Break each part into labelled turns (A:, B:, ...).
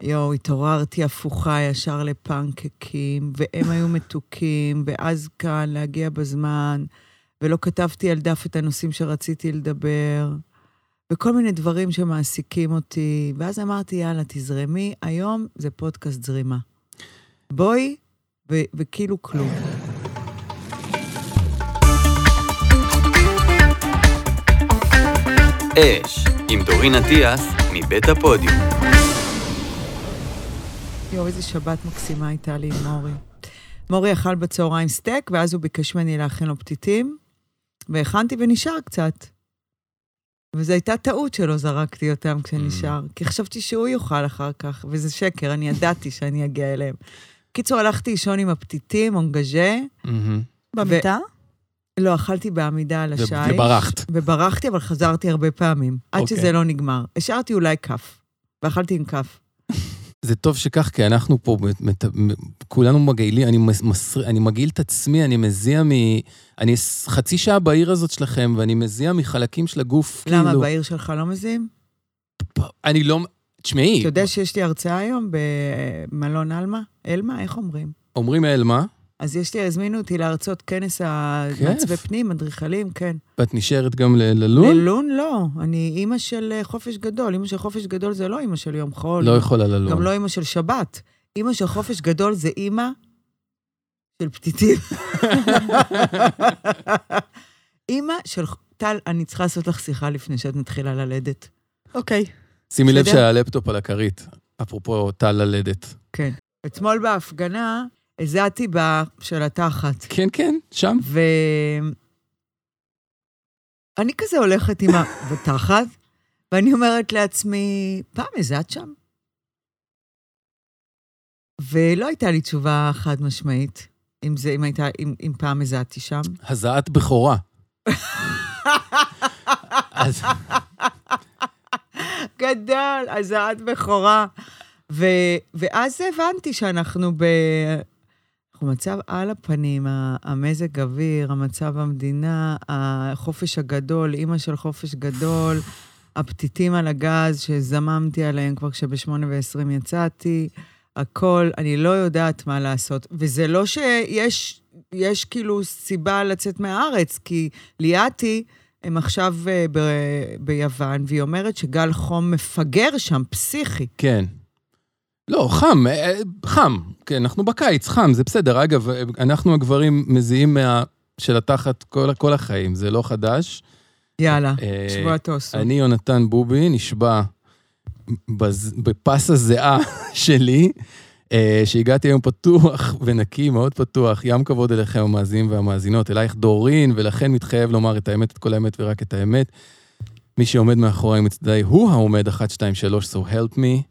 A: יואו, התעוררתי הפוכה ישר לפנקקים, והם היו מתוקים, ואז כאן להגיע בזמן, ולא כתבתי על דף את הנושאים שרציתי לדבר, וכל מיני דברים שמעסיקים אותי. ואז אמרתי, יאללה, תזרמי, היום זה פודקאסט זרימה. בואי, ו- וכאילו כלום.
B: אש, עם דורין אטיאס, מבית הפודיום.
A: יואו, איזה שבת מקסימה הייתה לי עם מורי. מורי אכל בצהריים סטייק, ואז הוא ביקש ממני להכין לו פתיתים, והכנתי ונשאר קצת. וזו הייתה טעות שלא זרקתי אותם כשנשאר,
C: Mm.
A: כי חשבתי שהוא יאכל אחר כך, וזה שקר, אני ידעתי שאני אגיע אליהם. קיצור, הלכתי לישון עם הפתיתים, אונגז'ה.
D: במיטה?
A: לא, אכלתי בעמידה על השיש.
C: וברחת.
A: וברחתי, אבל חזרתי הרבה פעמים, עד
C: אוקיי.
A: שזה לא נגמר. השארתי אולי כף, ואכלתי עם כף.
C: זה טוב שכך, כי אנחנו פה, מת- מת- מ- כולנו מגעילים, אני, מס- מס- אני מגעיל את עצמי, אני מזיע מ... אני ס- חצי שעה בעיר הזאת שלכם, ואני מזיע מחלקים של הגוף,
A: למה,
C: כאילו...
A: בעיר שלך לא מזיעים?
C: אני לא... תשמעי,
A: אתה יודע שיש לי הרצאה היום במלון אלמה? אלמה, איך אומרים?
C: אומרים אל מה?
A: אז יש לי, הזמינו אותי להרצות כנס המעצבי פנים, אדריכלים, כן.
C: ואת נשארת גם ל- ללון?
A: ללון לא, אני אימא של אה, חופש גדול. אימא של חופש גדול זה לא אימא של יום חול.
C: לא יכולה ללון.
A: גם לא אימא של שבת. אימא של חופש גדול זה אימא של פתיתים. אימא של... טל, אני צריכה לעשות לך שיחה לפני שאת מתחילה ללדת.
D: אוקיי.
C: שימי לב
A: בסדר?
C: שהלפטופ על הכרית, אפרופו טל ללדת.
A: כן. אתמול בהפגנה, הזעתי בה של התחת.
C: כן, כן, שם.
A: ו... אני כזה הולכת עם ה... בתחת, ואני אומרת לעצמי, פעם הזעת שם? ולא הייתה לי תשובה חד משמעית, אם זה, אם הייתה, אם, אם פעם הזעתי שם.
C: הזעת בכורה. אז
A: גדול, הזעת בכורה. ו... ואז הבנתי שאנחנו ב... אנחנו מצב על הפנים, ה- המזג אוויר, המצב המדינה, החופש הגדול, אימא של חופש גדול, הפתיתים על הגז שזממתי עליהם כבר כשבשמונה ועשרים יצאתי, הכל, אני לא יודעת מה לעשות. וזה לא שיש יש כאילו סיבה לצאת מהארץ, כי ליאתי, הם עכשיו אה, ב, ביוון, והיא אומרת שגל חום מפגר שם, פסיכי.
C: כן. לא, חם, אה, אה, חם. כן, אנחנו בקיץ, חם, זה בסדר. אגב, אה, אנחנו הגברים מזיעים מה... של התחת כל, כל החיים, זה לא חדש.
A: יאללה,
C: אה,
A: שבועת אוסו.
C: אני, יונתן בובי, נשבע בז... בפס הזיעה שלי, אה, שהגעתי היום פתוח ונקי, מאוד פתוח. ים כבוד אליכם, המאזינים והמאזינות, אלייך דורין, ולכן מתחייב לומר את האמת, את כל האמת ורק את האמת. מי שעומד מאחורי מצדדיי הוא העומד 1, 2, 3, so help me,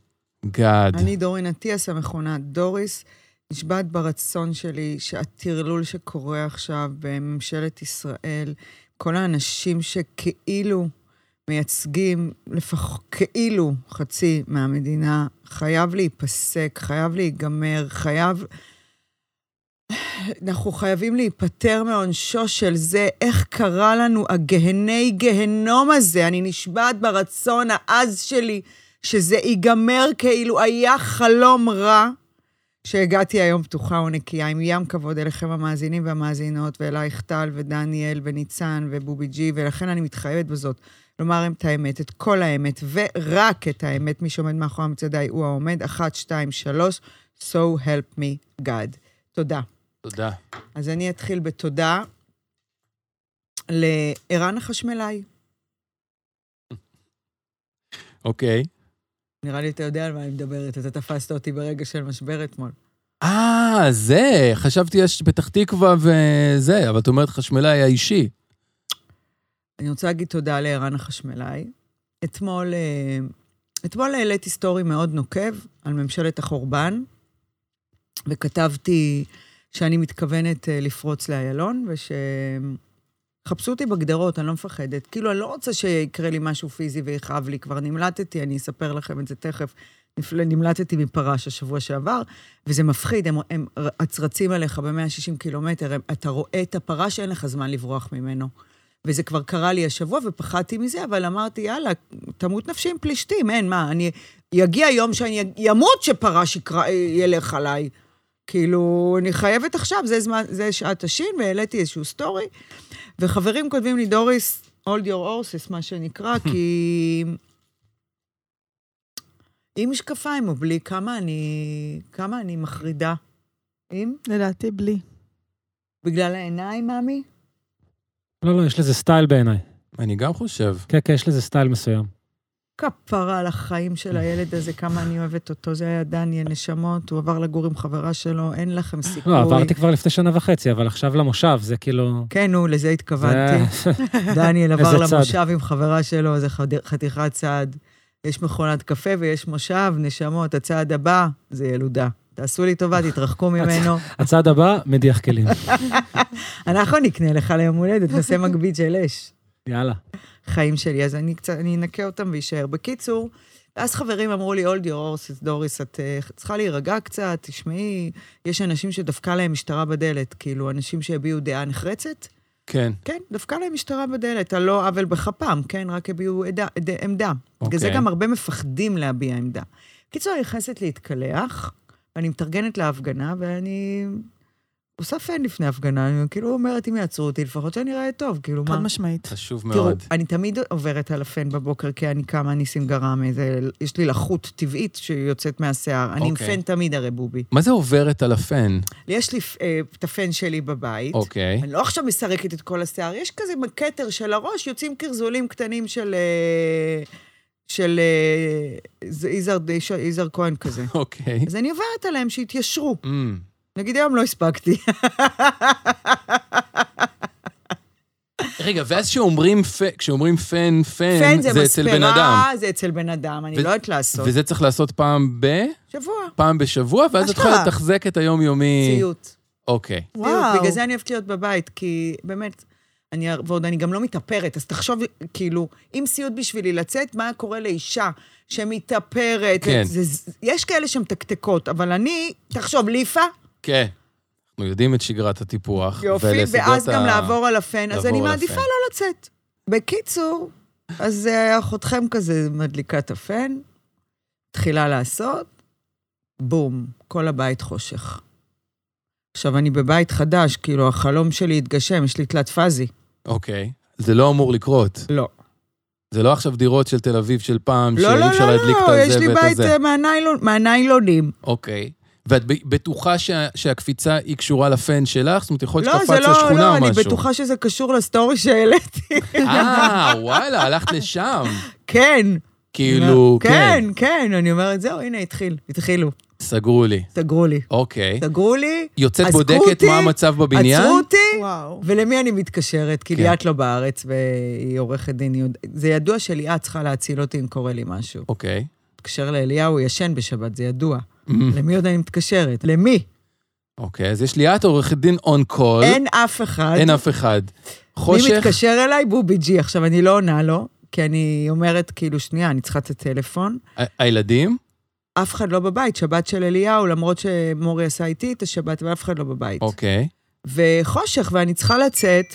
C: God.
A: אני דורין אטיאס, המכונה דוריס, נשבעת ברצון שלי שהטרלול שקורה עכשיו בממשלת ישראל, כל האנשים שכאילו מייצגים, לפחות כאילו חצי מהמדינה, חייב להיפסק, חייב להיגמר, חייב... אנחנו חייבים להיפטר מעונשו של זה, איך קרה לנו הגהני גהנום הזה. אני נשבעת ברצון העז שלי שזה ייגמר כאילו היה חלום רע, שהגעתי היום פתוחה ונקייה, עם ים כבוד אליכם המאזינים והמאזינות, ואלייך טל ודניאל וניצן ובובי ג'י, ולכן אני מתחייבת בזאת לומר את האמת, את כל האמת, ורק את האמת. מי שעומד מאחורי המצעדיי הוא העומד, אחת, שתיים, שלוש, so help me God. תודה.
C: תודה.
A: אז אני אתחיל בתודה לערן החשמלאי.
C: אוקיי.
A: נראה לי אתה יודע על מה אני מדברת, אתה תפסת אותי ברגע של משבר אתמול.
C: אה, זה, חשבתי יש פתח תקווה וזה, אבל את אומרת חשמלאי האישי.
A: אני רוצה להגיד תודה לערן החשמלאי. אתמול, אה, אתמול העליתי סטורי מאוד נוקב על ממשלת החורבן, וכתבתי שאני מתכוונת אה, לפרוץ לאיילון, וש... חפשו אותי בגדרות, אני לא מפחדת. כאילו, אני לא רוצה שיקרה לי משהו פיזי ויכאב לי. כבר נמלטתי, אני אספר לכם את זה תכף. נפל- נמלטתי מפרש השבוע שעבר, וזה מפחיד, הם, הם הצרצים עליך ב-160 קילומטר, הם, אתה רואה את הפרש, אין לך זמן לברוח ממנו. וזה כבר קרה לי השבוע, ופחדתי מזה, אבל אמרתי, יאללה, תמות נפשי עם פלישתים, אין, מה, אני... יגיע יום שאני אמות שפרש יקרא- ילך עליי. כאילו, אני חייבת עכשיו, זה, זמן, זה שעת השין, והעליתי איזשהו סטורי, וחברים כותבים לי, דוריס, hold your horses, מה שנקרא, כי... עם משקפיים או בלי, כמה אני, כמה אני מחרידה. עם?
D: לדעתי בלי.
A: בגלל העיניים, מאמי?
E: לא, לא, יש לזה סטייל בעיניי.
C: אני גם חושב.
E: כן, כן, יש לזה סטייל מסוים.
A: כפרה על החיים של הילד הזה, כמה אני אוהבת אותו. זה היה דניאל נשמות, הוא עבר לגור עם חברה שלו, אין לכם סיכוי.
E: לא, עברתי כבר לפני שנה וחצי, אבל עכשיו למושב, זה כאילו...
A: כן, נו, לזה התכוונתי.
E: זה-
A: דניאל עבר
E: איזה צד.
A: למושב עם חברה שלו, זה חד- חתיכת צעד. יש מכונת קפה ויש מושב, נשמות, הצעד הבא זה ילודה. תעשו לי טובה, תתרחקו ממנו.
E: הצעד הבא, מדיח כלים.
A: אנחנו נקנה לך ליום הולדת, נעשה מגבית של אש.
E: יאללה.
A: חיים שלי, אז אני קצת, אני אנקה אותם ואישאר. בקיצור, אז חברים אמרו לי, אולד יור אורסיס, דוריס, את אה, צריכה להירגע קצת, תשמעי, יש אנשים שדפקה להם משטרה בדלת, כאילו, אנשים שהביעו דעה נחרצת,
C: כן.
A: כן, דפקה להם משטרה בדלת, על לא עוול בכפם, כן, רק הביעו עדה, עד, עמדה. בגלל זה
C: אוקיי.
A: גם הרבה מפחדים להביע עמדה. קיצור, אני נכנסת להתקלח, ואני מתארגנת להפגנה, ואני... עושה פן לפני הפגנה, אני כאילו אומרת, אם יעצרו אותי, לפחות שאני אראה טוב, כאילו, מה?
D: חד משמעית.
C: חשוב
A: תראו,
C: מאוד.
A: אני תמיד עוברת על הפן בבוקר, כי אני קמה, אני סינגרם, איזה, יש לי לחות טבעית שיוצאת מהשיער. אני עם
C: אוקיי.
A: פן תמיד הרי, בובי.
C: מה זה עוברת על הפן?
A: יש לי אה, את הפן שלי בבית.
C: אוקיי.
A: אני לא עכשיו מסרקת את כל השיער, יש כזה כתר של הראש, יוצאים קרזולים קטנים של... אה, של אה, זה יזהר דיש- יזהר כהן כזה.
C: אוקיי.
A: אז אני עוברת עליהם שיתיישרו.
C: אמ,
A: נגיד היום לא הספקתי.
C: כן, רגע, ואז כשאומרים פן, כשאומרים פן, פן,
A: פן זה
C: זה אצל בן אדם.
A: מספרה, זה אצל בן אדם, אני
C: ו-
A: לא יודעת לעשות.
C: וזה צריך לעשות פעם ב...
A: שבוע,
C: פעם בשבוע, ואז את
A: אשכרה.
C: יכולה לתחזק את היומיומי.
A: ציות.
C: אוקיי.
A: וואו.
D: וואו.
A: בגלל זה אני אוהבת להיות בבית, כי באמת, אני, ועוד אני גם לא מתאפרת, אז תחשוב, כאילו, אם סיוט בשבילי לצאת, מה קורה לאישה שמתאפרת?
C: כן.
A: זה, זה, יש כאלה שמתקתקות, אבל אני, תחשוב, ליפה,
C: כן. אנחנו יודעים את שגרת הטיפוח.
A: יופי,
C: ולסוגות
A: ואז
C: ה-
A: גם לעבור על הפן, אז
C: לעבור
A: אני
C: על
A: מעדיפה
C: הפן.
A: לא לצאת. בקיצור, אז אה, אחותכם כזה מדליקה את הפן, תחילה לעשות, בום, כל הבית חושך. עכשיו, אני בבית חדש, כאילו, החלום שלי התגשם, יש לי תלת פאזי.
C: אוקיי. זה לא אמור לקרות.
A: לא.
C: זה לא עכשיו דירות של תל אביב של פעם,
A: לא,
C: שאי
A: לא,
C: אפשר
A: לא,
C: להדליק את
A: לא, יש
C: הזה
A: לי
C: ואת
A: בית
C: הזה.
A: אה, מהניילון- מהניילונים.
C: אוקיי. ואת ב- בטוחה שה- שהקפיצה היא קשורה לפן שלך? זאת אומרת, יכול להיות
A: לא,
C: שקפץ
A: זה
C: לשכונה
A: לא,
C: או משהו.
A: לא, אני בטוחה שזה קשור לסטורי שהעליתי.
C: אה, וואלה, הלכת לשם.
A: כן.
C: כאילו, כן.
A: כן, כן, אני אומרת, זהו, הנה, התחיל, התחילו,
C: סגרו לי.
A: סגרו לי.
C: אוקיי.
A: סגרו לי,
C: יוצאת
A: אזקו
C: בודקת
A: אותי,
C: מה המצב בבניין?
A: עצרו אותי,
D: וואו.
A: ולמי אני מתקשרת? כי
C: כן.
A: ליאת לא בארץ והיא עורכת דין. היא יודע- זה ידוע שליאת צריכה להציל אותי אם קורה לי משהו.
C: אוקיי.
A: מתקשר לאליהו, הוא ישן בשבת, זה ידוע. למי עוד אני מתקשרת? למי?
C: אוקיי, אז יש לי את עורכת דין און קול.
A: אין אף אחד.
C: אין אף אחד.
A: חושך. מי
C: חושך,
A: מתקשר אליי? בובי ג'י. עכשיו, אני לא עונה לו, כי אני אומרת, כאילו, שנייה, אני צריכה את הטלפון.
C: ה- הילדים?
A: אף אחד לא בבית, שבת של אליהו, למרות שמורי עשה איתי את השבת, אבל אף אחד לא בבית.
C: אוקיי.
A: וחושך, ואני צריכה לצאת.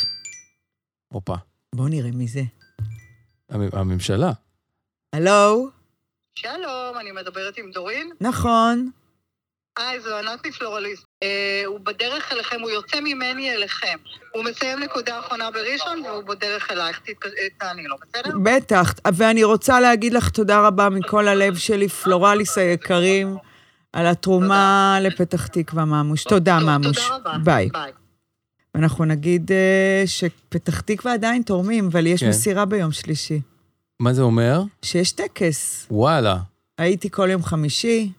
C: הופה.
A: בואו נראה מי זה.
C: המ- הממשלה.
A: הלו?
F: שלום, אני מדברת עם דורין. נכון.
A: נכון.
F: היי, זו ענת מפלורליסט. אה, הוא בדרך אליכם, הוא יוצא ממני אליכם. הוא מסיים נקודה אחרונה בראשון והוא בדרך אלייך. תת- אה, תעני לו, בסדר?
A: בטח. ואני רוצה להגיד לך תודה רבה מכל הלב שלי, פלורליס היקרים, על התרומה לפתח תקווה, ממוש. תודה,
F: טוב,
A: ממוש.
F: תודה רבה.
A: ביי.
F: ביי.
A: אנחנו נגיד אה, שפתח תקווה עדיין תורמים, אבל יש
C: כן.
A: מסירה ביום שלישי.
C: מה זה אומר?
A: שיש טקס.
C: וואלה.
A: הייתי כל יום חמישי,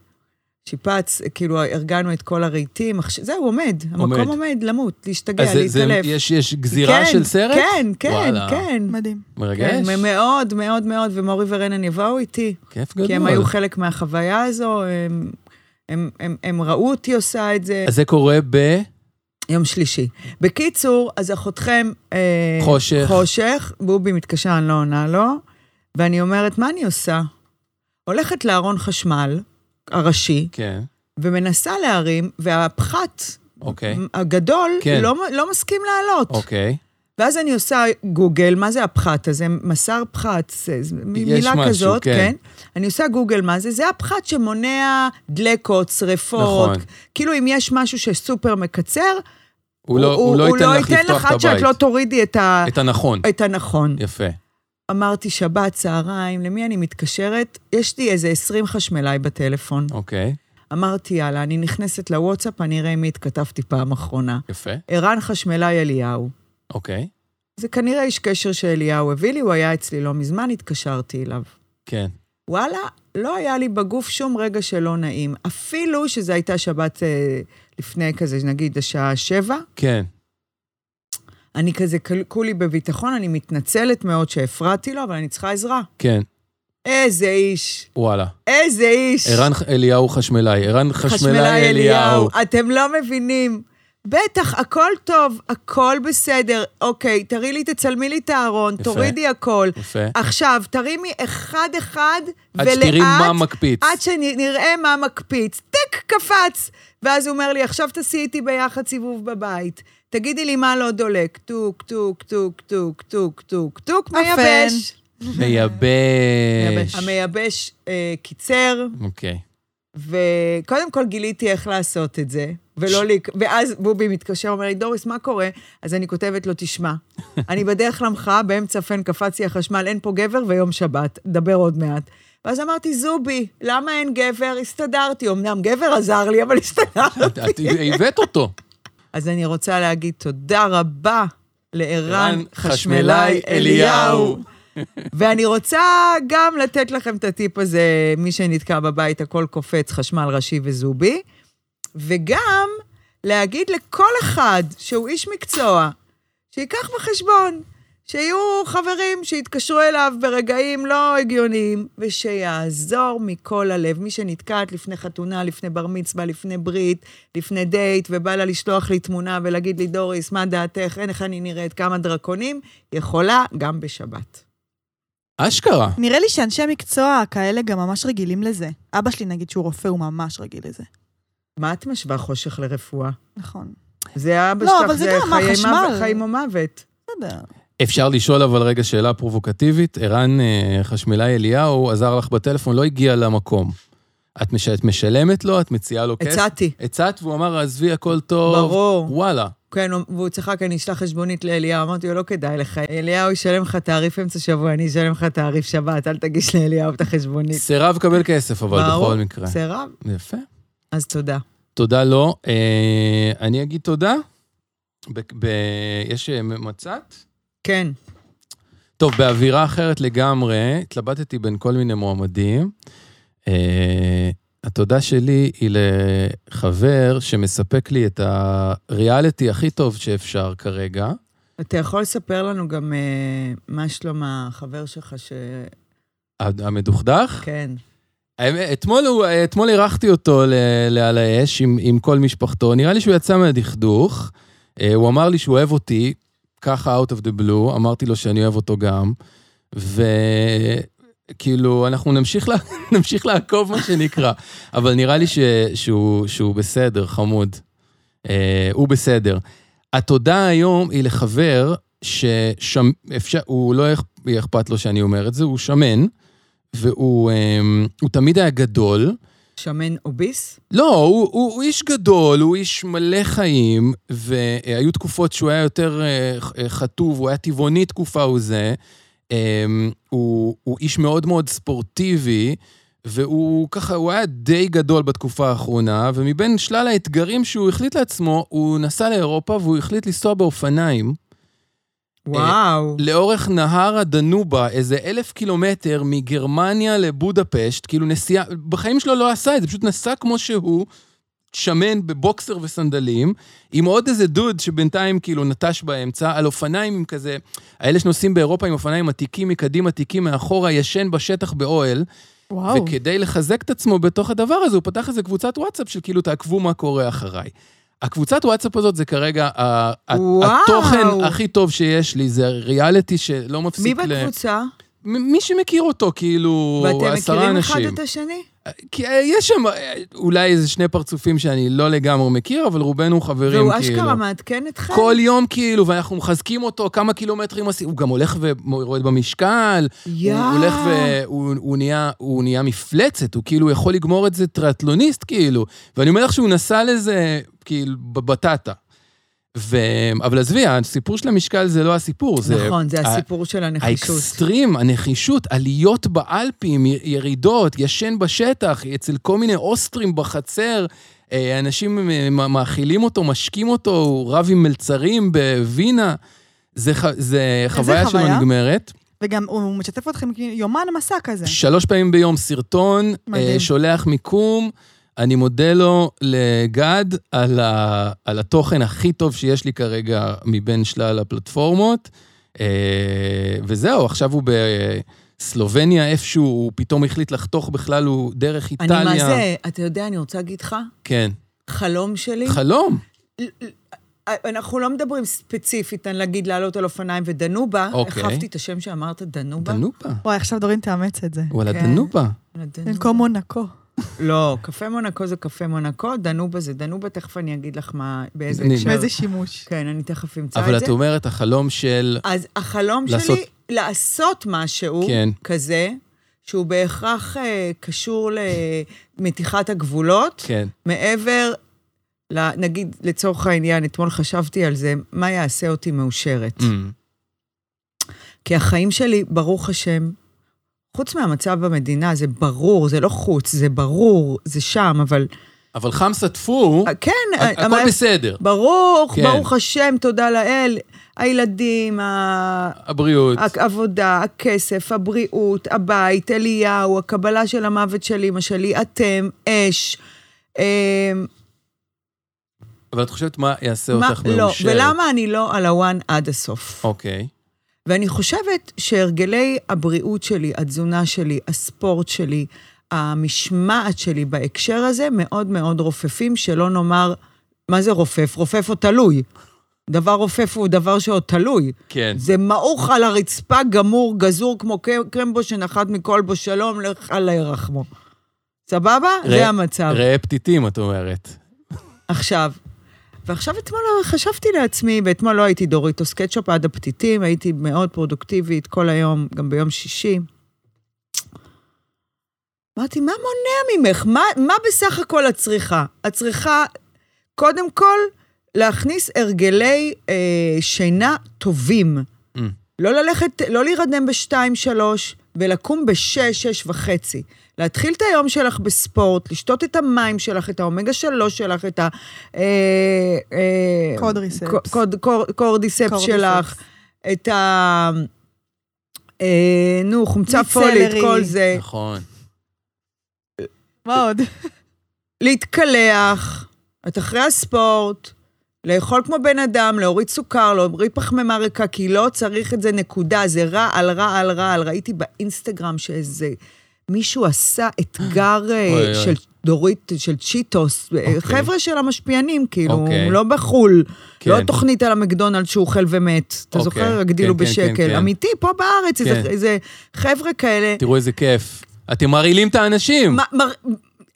A: שיפץ, כאילו, ארגנו את כל הרהיטים. עכש- זהו, עומד.
C: עומד.
A: המקום עומד, למות, להשתגע,
C: אז זה- זה-
A: כן, להתעלף.
C: יש- יש גזירה
A: כן,
C: של סרט?
A: כן, כן,
C: וואלה.
A: כן.
D: מדהים.
C: מרגש.
A: כן, מאוד, מאוד, מאוד, ומורי ורנן יבואו איתי.
C: כיף גדול.
A: כי הם היו חלק מהחוויה הזו, הם, הם, הם, הם ראו אותי עושה את זה.
C: אז זה קורה ב...
A: יום שלישי. בקיצור, אז אחותכם... אה,
C: חושך.
A: חושך, בובי מתקשר, אני לא עונה לו, ואני אומרת, מה אני עושה? הולכת לארון חשמל הראשי,
C: כן,
A: ומנסה להרים, והפחת
C: אוקיי.
A: הגדול
C: כן.
A: לא, מ- לא מסכים לעלות.
C: אוקיי.
A: ואז אני עושה גוגל, מה זה הפחת הזה? מסר פחת, זה זה מ-
C: יש
A: מילה
C: משהו,
A: כזאת,
C: כן.
A: כן. אני עושה גוגל מה זה, זה הפחת שמונע דלקות, שריפות.
C: נכון.
A: כאילו אם יש משהו שסופר מקצר,
C: הוא לא- הוא לא ייתן לך
A: ייתן
C: לפתוח
A: לך
C: את
A: עד שאת
C: הבית.
A: לא תורידי את, ה...
C: את הנכון.
A: את הנכון.
C: יפה.
A: אמרתי, שבת, צהריים, למי אני מתקשרת? יש לי איזה 20 חשמלאי בטלפון.
C: אוקיי,
A: אמרתי, יאללה, אני נכנסת לוואטסאפ, אני אראה עם מי התכתבתי פעם אחרונה.
C: יפה.
A: ערן חשמלאי אליהו.
C: אוקיי,
A: זה כנראה איש קשר שאליהו הביא לי, הוא היה אצלי לא מזמן, התקשרתי אליו.
C: כן.
A: וואלה, לא היה לי בגוף שום רגע שלא נעים. אפילו שזו הייתה שבת אה, לפני כזה, נגיד, השעה שבע,
C: כן,
A: אני כזה כל- כולי בביטחון, אני מתנצלת מאוד שהפרעתי לו, אבל אני צריכה עזרה.
C: כן,
A: איזה איש,
C: וואלה.
A: איזה איש.
C: ערן אליהו חשמלאי, ערן חשמלאי אליהו.
A: אתם לא מבינים. בטח, הכל טוב, הכל בסדר. אוקיי, תראי לי, תצלמי לי את הארון,
C: יפה.
A: תורידי הכל.
C: יפה.
A: עכשיו, תרימי אחד-אחד,
C: עד שתראי מה מקפיץ.
A: עד שנראה מה מקפיץ. טק, קפץ. ואז הוא אומר לי, עכשיו תעשי איתי ביחד סיבוב בבית. תגידי לי מה לא דולק. טוק, טוק, טוק, טוק, טוק, טוק, טוק, מייבש.
C: מייבש.
A: המייבש אה, קיצר,
C: אוקיי.
A: וקודם כל גיליתי איך לעשות את זה, ולא לי... ואז בובי מתקשר, אומר לי, דוריס, מה קורה? אז אני כותבת לו, תשמע, אני בדרך למחאה, באמצע פן קפץ לי החשמל, אין פה גבר ויום שבת, נדבר עוד מעט. ואז אמרתי, זובי, למה אין גבר? הסתדרתי. אמנם גבר עזר לי, אבל
C: את
A: הסתדרתי.
C: את הבאת אותו.
A: אז אני רוצה להגיד תודה רבה
C: ערן
A: לערן
C: חשמלאי
A: חשמלאי אליהו. ואני רוצה גם לתת לכם את הטיפ הזה, מי שנתקע בבית, הכל קופץ, חשמל ראשי וזובי, וגם להגיד לכל אחד שהוא איש מקצוע, שייקח בחשבון שיהיו חברים שיתקשרו אליו ברגעים לא הגיוניים, ושיעזור מכל הלב. מי שנתקעת לפני חתונה, לפני בר מצווה, לפני ברית, לפני דייט, ובא לה לשלוח לי תמונה ולהגיד לי, דוריס, מה דעתך, אין איך אני נראית, כמה דרקונים, יכולה גם בשבת.
C: אשכרה.
D: נראה לי שאנשי מקצוע כאלה גם ממש רגילים לזה. אבא שלי, נגיד, שהוא רופא, הוא ממש רגיל לזה.
A: מה את משווה חושך לרפואה?
D: נכון.
A: זה אבא
D: לא,
A: שלך,
D: אבל זה
A: זה
D: גם
A: חיי
D: החשמל.
A: מוות- חיים או מוות.
D: בסדר.
C: אפשר לשאול אבל רגע שאלה פרובוקטיבית. ערן אה, חשמלאי אליהו עזר לך בטלפון, לא הגיע למקום. את מש- את משלמת לו? את מציעה לו כסף?
A: הצעתי,
C: הצעת, והוא אמר, עזבי, הכל כן. טוב.
A: ברור.
C: וואלה.
A: כן, והוא צחק, אני אשלח חשבונית לאליהו. אמרתי לו, לא כדאי לך, אליהו ישלם לך תעריף אמצע שבוע, אני אשלם לך תעריף שבת, אל תגיש לאליהו את החשבונית.
C: סירב לקבל כסף, אבל בכל מקרה.
A: סירב,
C: יפה.
A: אז תודה.
C: תודה לו. אה, אני אגיד תודה. ב- ב- יש אה, מצת?
A: כן,
C: טוב, באווירה אחרת לגמרי, התלבטתי בין כל מיני מועמדים. אה, התודה שלי היא לחבר שמספק לי את הריאליטי הכי טוב שאפשר כרגע.
A: אתה יכול לספר לנו גם אה, מה שלום החבר שלך, ש...
C: ה- המדוכדך?
A: כן.
C: האמת, אתמול, הוא- אתמול אירחתי אותו ל- לעל האש עם, עם כל משפחתו, נראה לי שהוא יצא מהדכדוך. אה, הוא אמר לי שהוא אוהב אותי, ככה out of the blue, אמרתי לו שאני אוהב אותו גם, וכאילו, אנחנו נמשיך, לה, נמשיך לעקוב, מה שנקרא, אבל נראה לי ש, שהוא, שהוא בסדר, חמוד. אה, הוא בסדר. התודה היום היא לחבר שהוא לא אכ- יהיה אכפת לו שאני אומר את זה, הוא שמן. והוא אמ, הוא תמיד היה גדול.
A: שמן אוביס?
C: לא, הוא, הוא, הוא איש גדול, הוא איש מלא חיים, והיו תקופות שהוא היה יותר אה, ח- אה, חטוב, הוא היה טבעוני תקופה הוא זה. אמ, הוא, הוא איש מאוד מאוד ספורטיבי, והוא ככה, הוא היה די גדול בתקופה האחרונה, ומבין שלל האתגרים שהוא החליט לעצמו, הוא נסע לאירופה והוא החליט לנסוע באופניים. אה,
A: וואו.
C: לאורך נהר הדנובה, איזה אלף קילומטר מגרמניה לבודפשט, כאילו נסיעה, בחיים שלו לא עשה את זה, פשוט נסע כמו שהוא, שמן בבוקסר וסנדלים, עם עוד איזה דוד שבינתיים כאילו נטש באמצע, על אופניים עם כזה, האלה שנוסעים באירופה עם אופניים עתיקים מקדימה, עתיקים מאחורה, ישן בשטח באוהל,
D: וואו.
C: וכדי לחזק את עצמו בתוך הדבר הזה, הוא פתח איזה קבוצת וואטסאפ של כאילו, תעקבו מה קורה אחריי. הקבוצת וואטסאפ הזאת זה כרגע ה-
A: וואו.
C: ה- התוכן הכי טוב שיש לי, זה ריאליטי שלא
A: מי
C: מפסיק ל...
A: בקבוצה?
C: מ- מי שמכיר אותו, כאילו,
A: ואתם
C: עשרה
A: מכירים אחד
C: אנשים.
A: את השני?
C: כי אה, יש שם אה, אולי איזה שני פרצופים שאני לא לגמרי מכיר, אבל רובנו חברים, כאילו.
A: והוא אשכרה מעדכן אתכם?
C: כל יום כאילו, ואנחנו מחזקים אותו כמה קילומטרים עושים, הוא גם הולך ויורד במשקל, הוא
A: יאה.
C: הוא הולך והוא הוא נהיה, הוא נהיה מפלצת, הוא כאילו יכול לגמור את זה טריאטלוניסט כאילו. ואני אומר לך שהוא נסע לזה כאילו בבטטה. ו... אבל עזבי, הסיפור של המשקל זה לא הסיפור, זה...
A: נכון, זה
C: ה-
A: הסיפור של הנחישות.
C: האקסטרים, הנחישות, עליות באלפים, י- ירידות, ישן בשטח, אצל כל מיני אוסטרים בחצר, אה, אנשים אה, מ- מאכילים אותו, משקים אותו, הוא רב עם מלצרים בווינה. זה, ח- זה חוויה שלא
D: חוויה?
C: נגמרת.
D: וגם הוא משתף אתכם כאילו יומן מסע כזה.
C: שלוש פעמים ביום סרטון,
D: מדהים.
C: אה, שולח מיקום. אני מודה לו לגד על, ה, על התוכן הכי טוב שיש לי כרגע מבין שלל הפלטפורמות. אה, וזהו, עכשיו הוא בסלובניה איפשהו, הוא פתאום החליט לחתוך בכלל, הוא דרך
A: אני
C: איטליה.
A: מה זה, אתה יודע, אני רוצה להגיד לך,
C: כן.
A: חלום שלי,
C: חלום.
A: אנחנו לא מדברים ספציפית, אני להגיד לעלות על אופניים ודנובה,
C: אוקיי.
A: החפתי את השם שאמרת, דנובה.
C: דנובה.
D: וואי, עכשיו דורין תאמץ את זה.
C: וואלה,
A: כן.
C: דנובה.
A: דנובה.
D: במקום מונקו.
A: לא, קפה מונקו זה קפה מונקו, דנובה זה דנובה, תכף אני אגיד לך מה, באיזה
C: אני-
A: הקשר.
D: באיזה שימוש.
A: כן, אני תכף אמצא
C: אבל
A: את זה.
C: את אומרת, החלום של...
A: אז החלום
C: לעשות-
A: שלי, לעשות משהו
C: כן.
A: כזה, שהוא בהכרח אה, קשור למתיחת הגבולות,
C: כן.
A: מעבר, ל- נגיד, לצורך העניין, אתמול חשבתי על זה, מה יעשה אותי מאושרת?
C: Mm.
A: כי החיים שלי, ברוך השם, חוץ מהמצב במדינה, זה ברור, זה לא חוץ, זה ברור, זה שם, אבל...
C: אבל חמסה טפו,
A: אה, כן,
C: הכ-
A: אה,
C: הכל
A: אבל-
C: בסדר.
A: ברוך,
C: כן.
A: ברוך השם, תודה לאל. הילדים, ה-
C: הבריאות.
A: אה, העבודה, הכסף, הבריאות, הבית, אליהו, הקבלה של המוות של אמא שלי, אתם, אש. אמ,
C: אבל את חושבת מה יעשה
A: מה-
C: אותך מאושרת?
A: לא, ולמה אני לא על הוואן עד הסוף?
C: אוקיי.
A: ואני חושבת שהרגלי הבריאות שלי, התזונה שלי, הספורט שלי, המשמעת שלי בהקשר הזה מאוד מאוד רופפים, שלא נאמר, מה זה רופף? רופף או תלוי. דבר רופף הוא דבר שעוד תלוי.
C: כן.
A: זה מעוך על הרצפה, גמור, גזור, כמו ק- קרמבו שנחת מכלבו שלום, לך עלי רחמו. סבבה?
C: ראה-
A: זה המצב.
C: ראה פתיתים, את אומרת.
A: עכשיו, ועכשיו אתמול חשבתי לעצמי, ואתמול לא הייתי דוריטוס קטשופ עד הפתיתים, הייתי מאוד פרודוקטיבית כל היום, גם ביום שישי. אמרתי, מה מונע ממך? מה, מה בסך הכל את צריכה? את צריכה, קודם כל, להכניס הרגלי אה, שינה טובים.
C: Mm.
A: לא ללכת, לא להירדם בשתיים, שלוש, ולקום בשש, שש וחצי. להתחיל את היום שלך בספורט, לשתות את המים שלך, את האומגה שלוש שלך, את ה... אה, אה,
D: קודריספס.
A: קו- קוד- קור- קורדיספס
D: קורדיספס.
A: שלך, את ה... אה, נו, חומצה
D: מיץ
A: פולית,
D: סלרי.
A: כל זה.
C: נכון.
D: מה עוד?
A: להתקלח, את אחרי הספורט, לאכול כמו בן אדם, להוריד סוכר, להוריד פחמימה ריקה, כי לא צריך את זה, נקודה. זה רע על רע על רע על. ראיתי באינסטגרם שאיזה... מישהו עשה אתגר אה,
C: אוי, אוי.
A: של דורית, של צ'יטוס, אה,
C: אוקיי.
A: חבר'ה של המשפיענים, כאילו,
C: אוקיי.
A: הם לא בחו"ל,
C: כן.
A: לא תוכנית על המקדונלד שהוא אוכל ומת. אתה
C: אוקיי.
A: זוכר? הגדילו
C: כן, כן, כן,
A: בשקל.
C: כן.
A: אמיתי, פה בארץ, איזה-
C: כן.
A: איזה חבר'ה כאלה.
C: תראו איזה כיף. אתם מרעילים את האנשים.
A: מה- מר-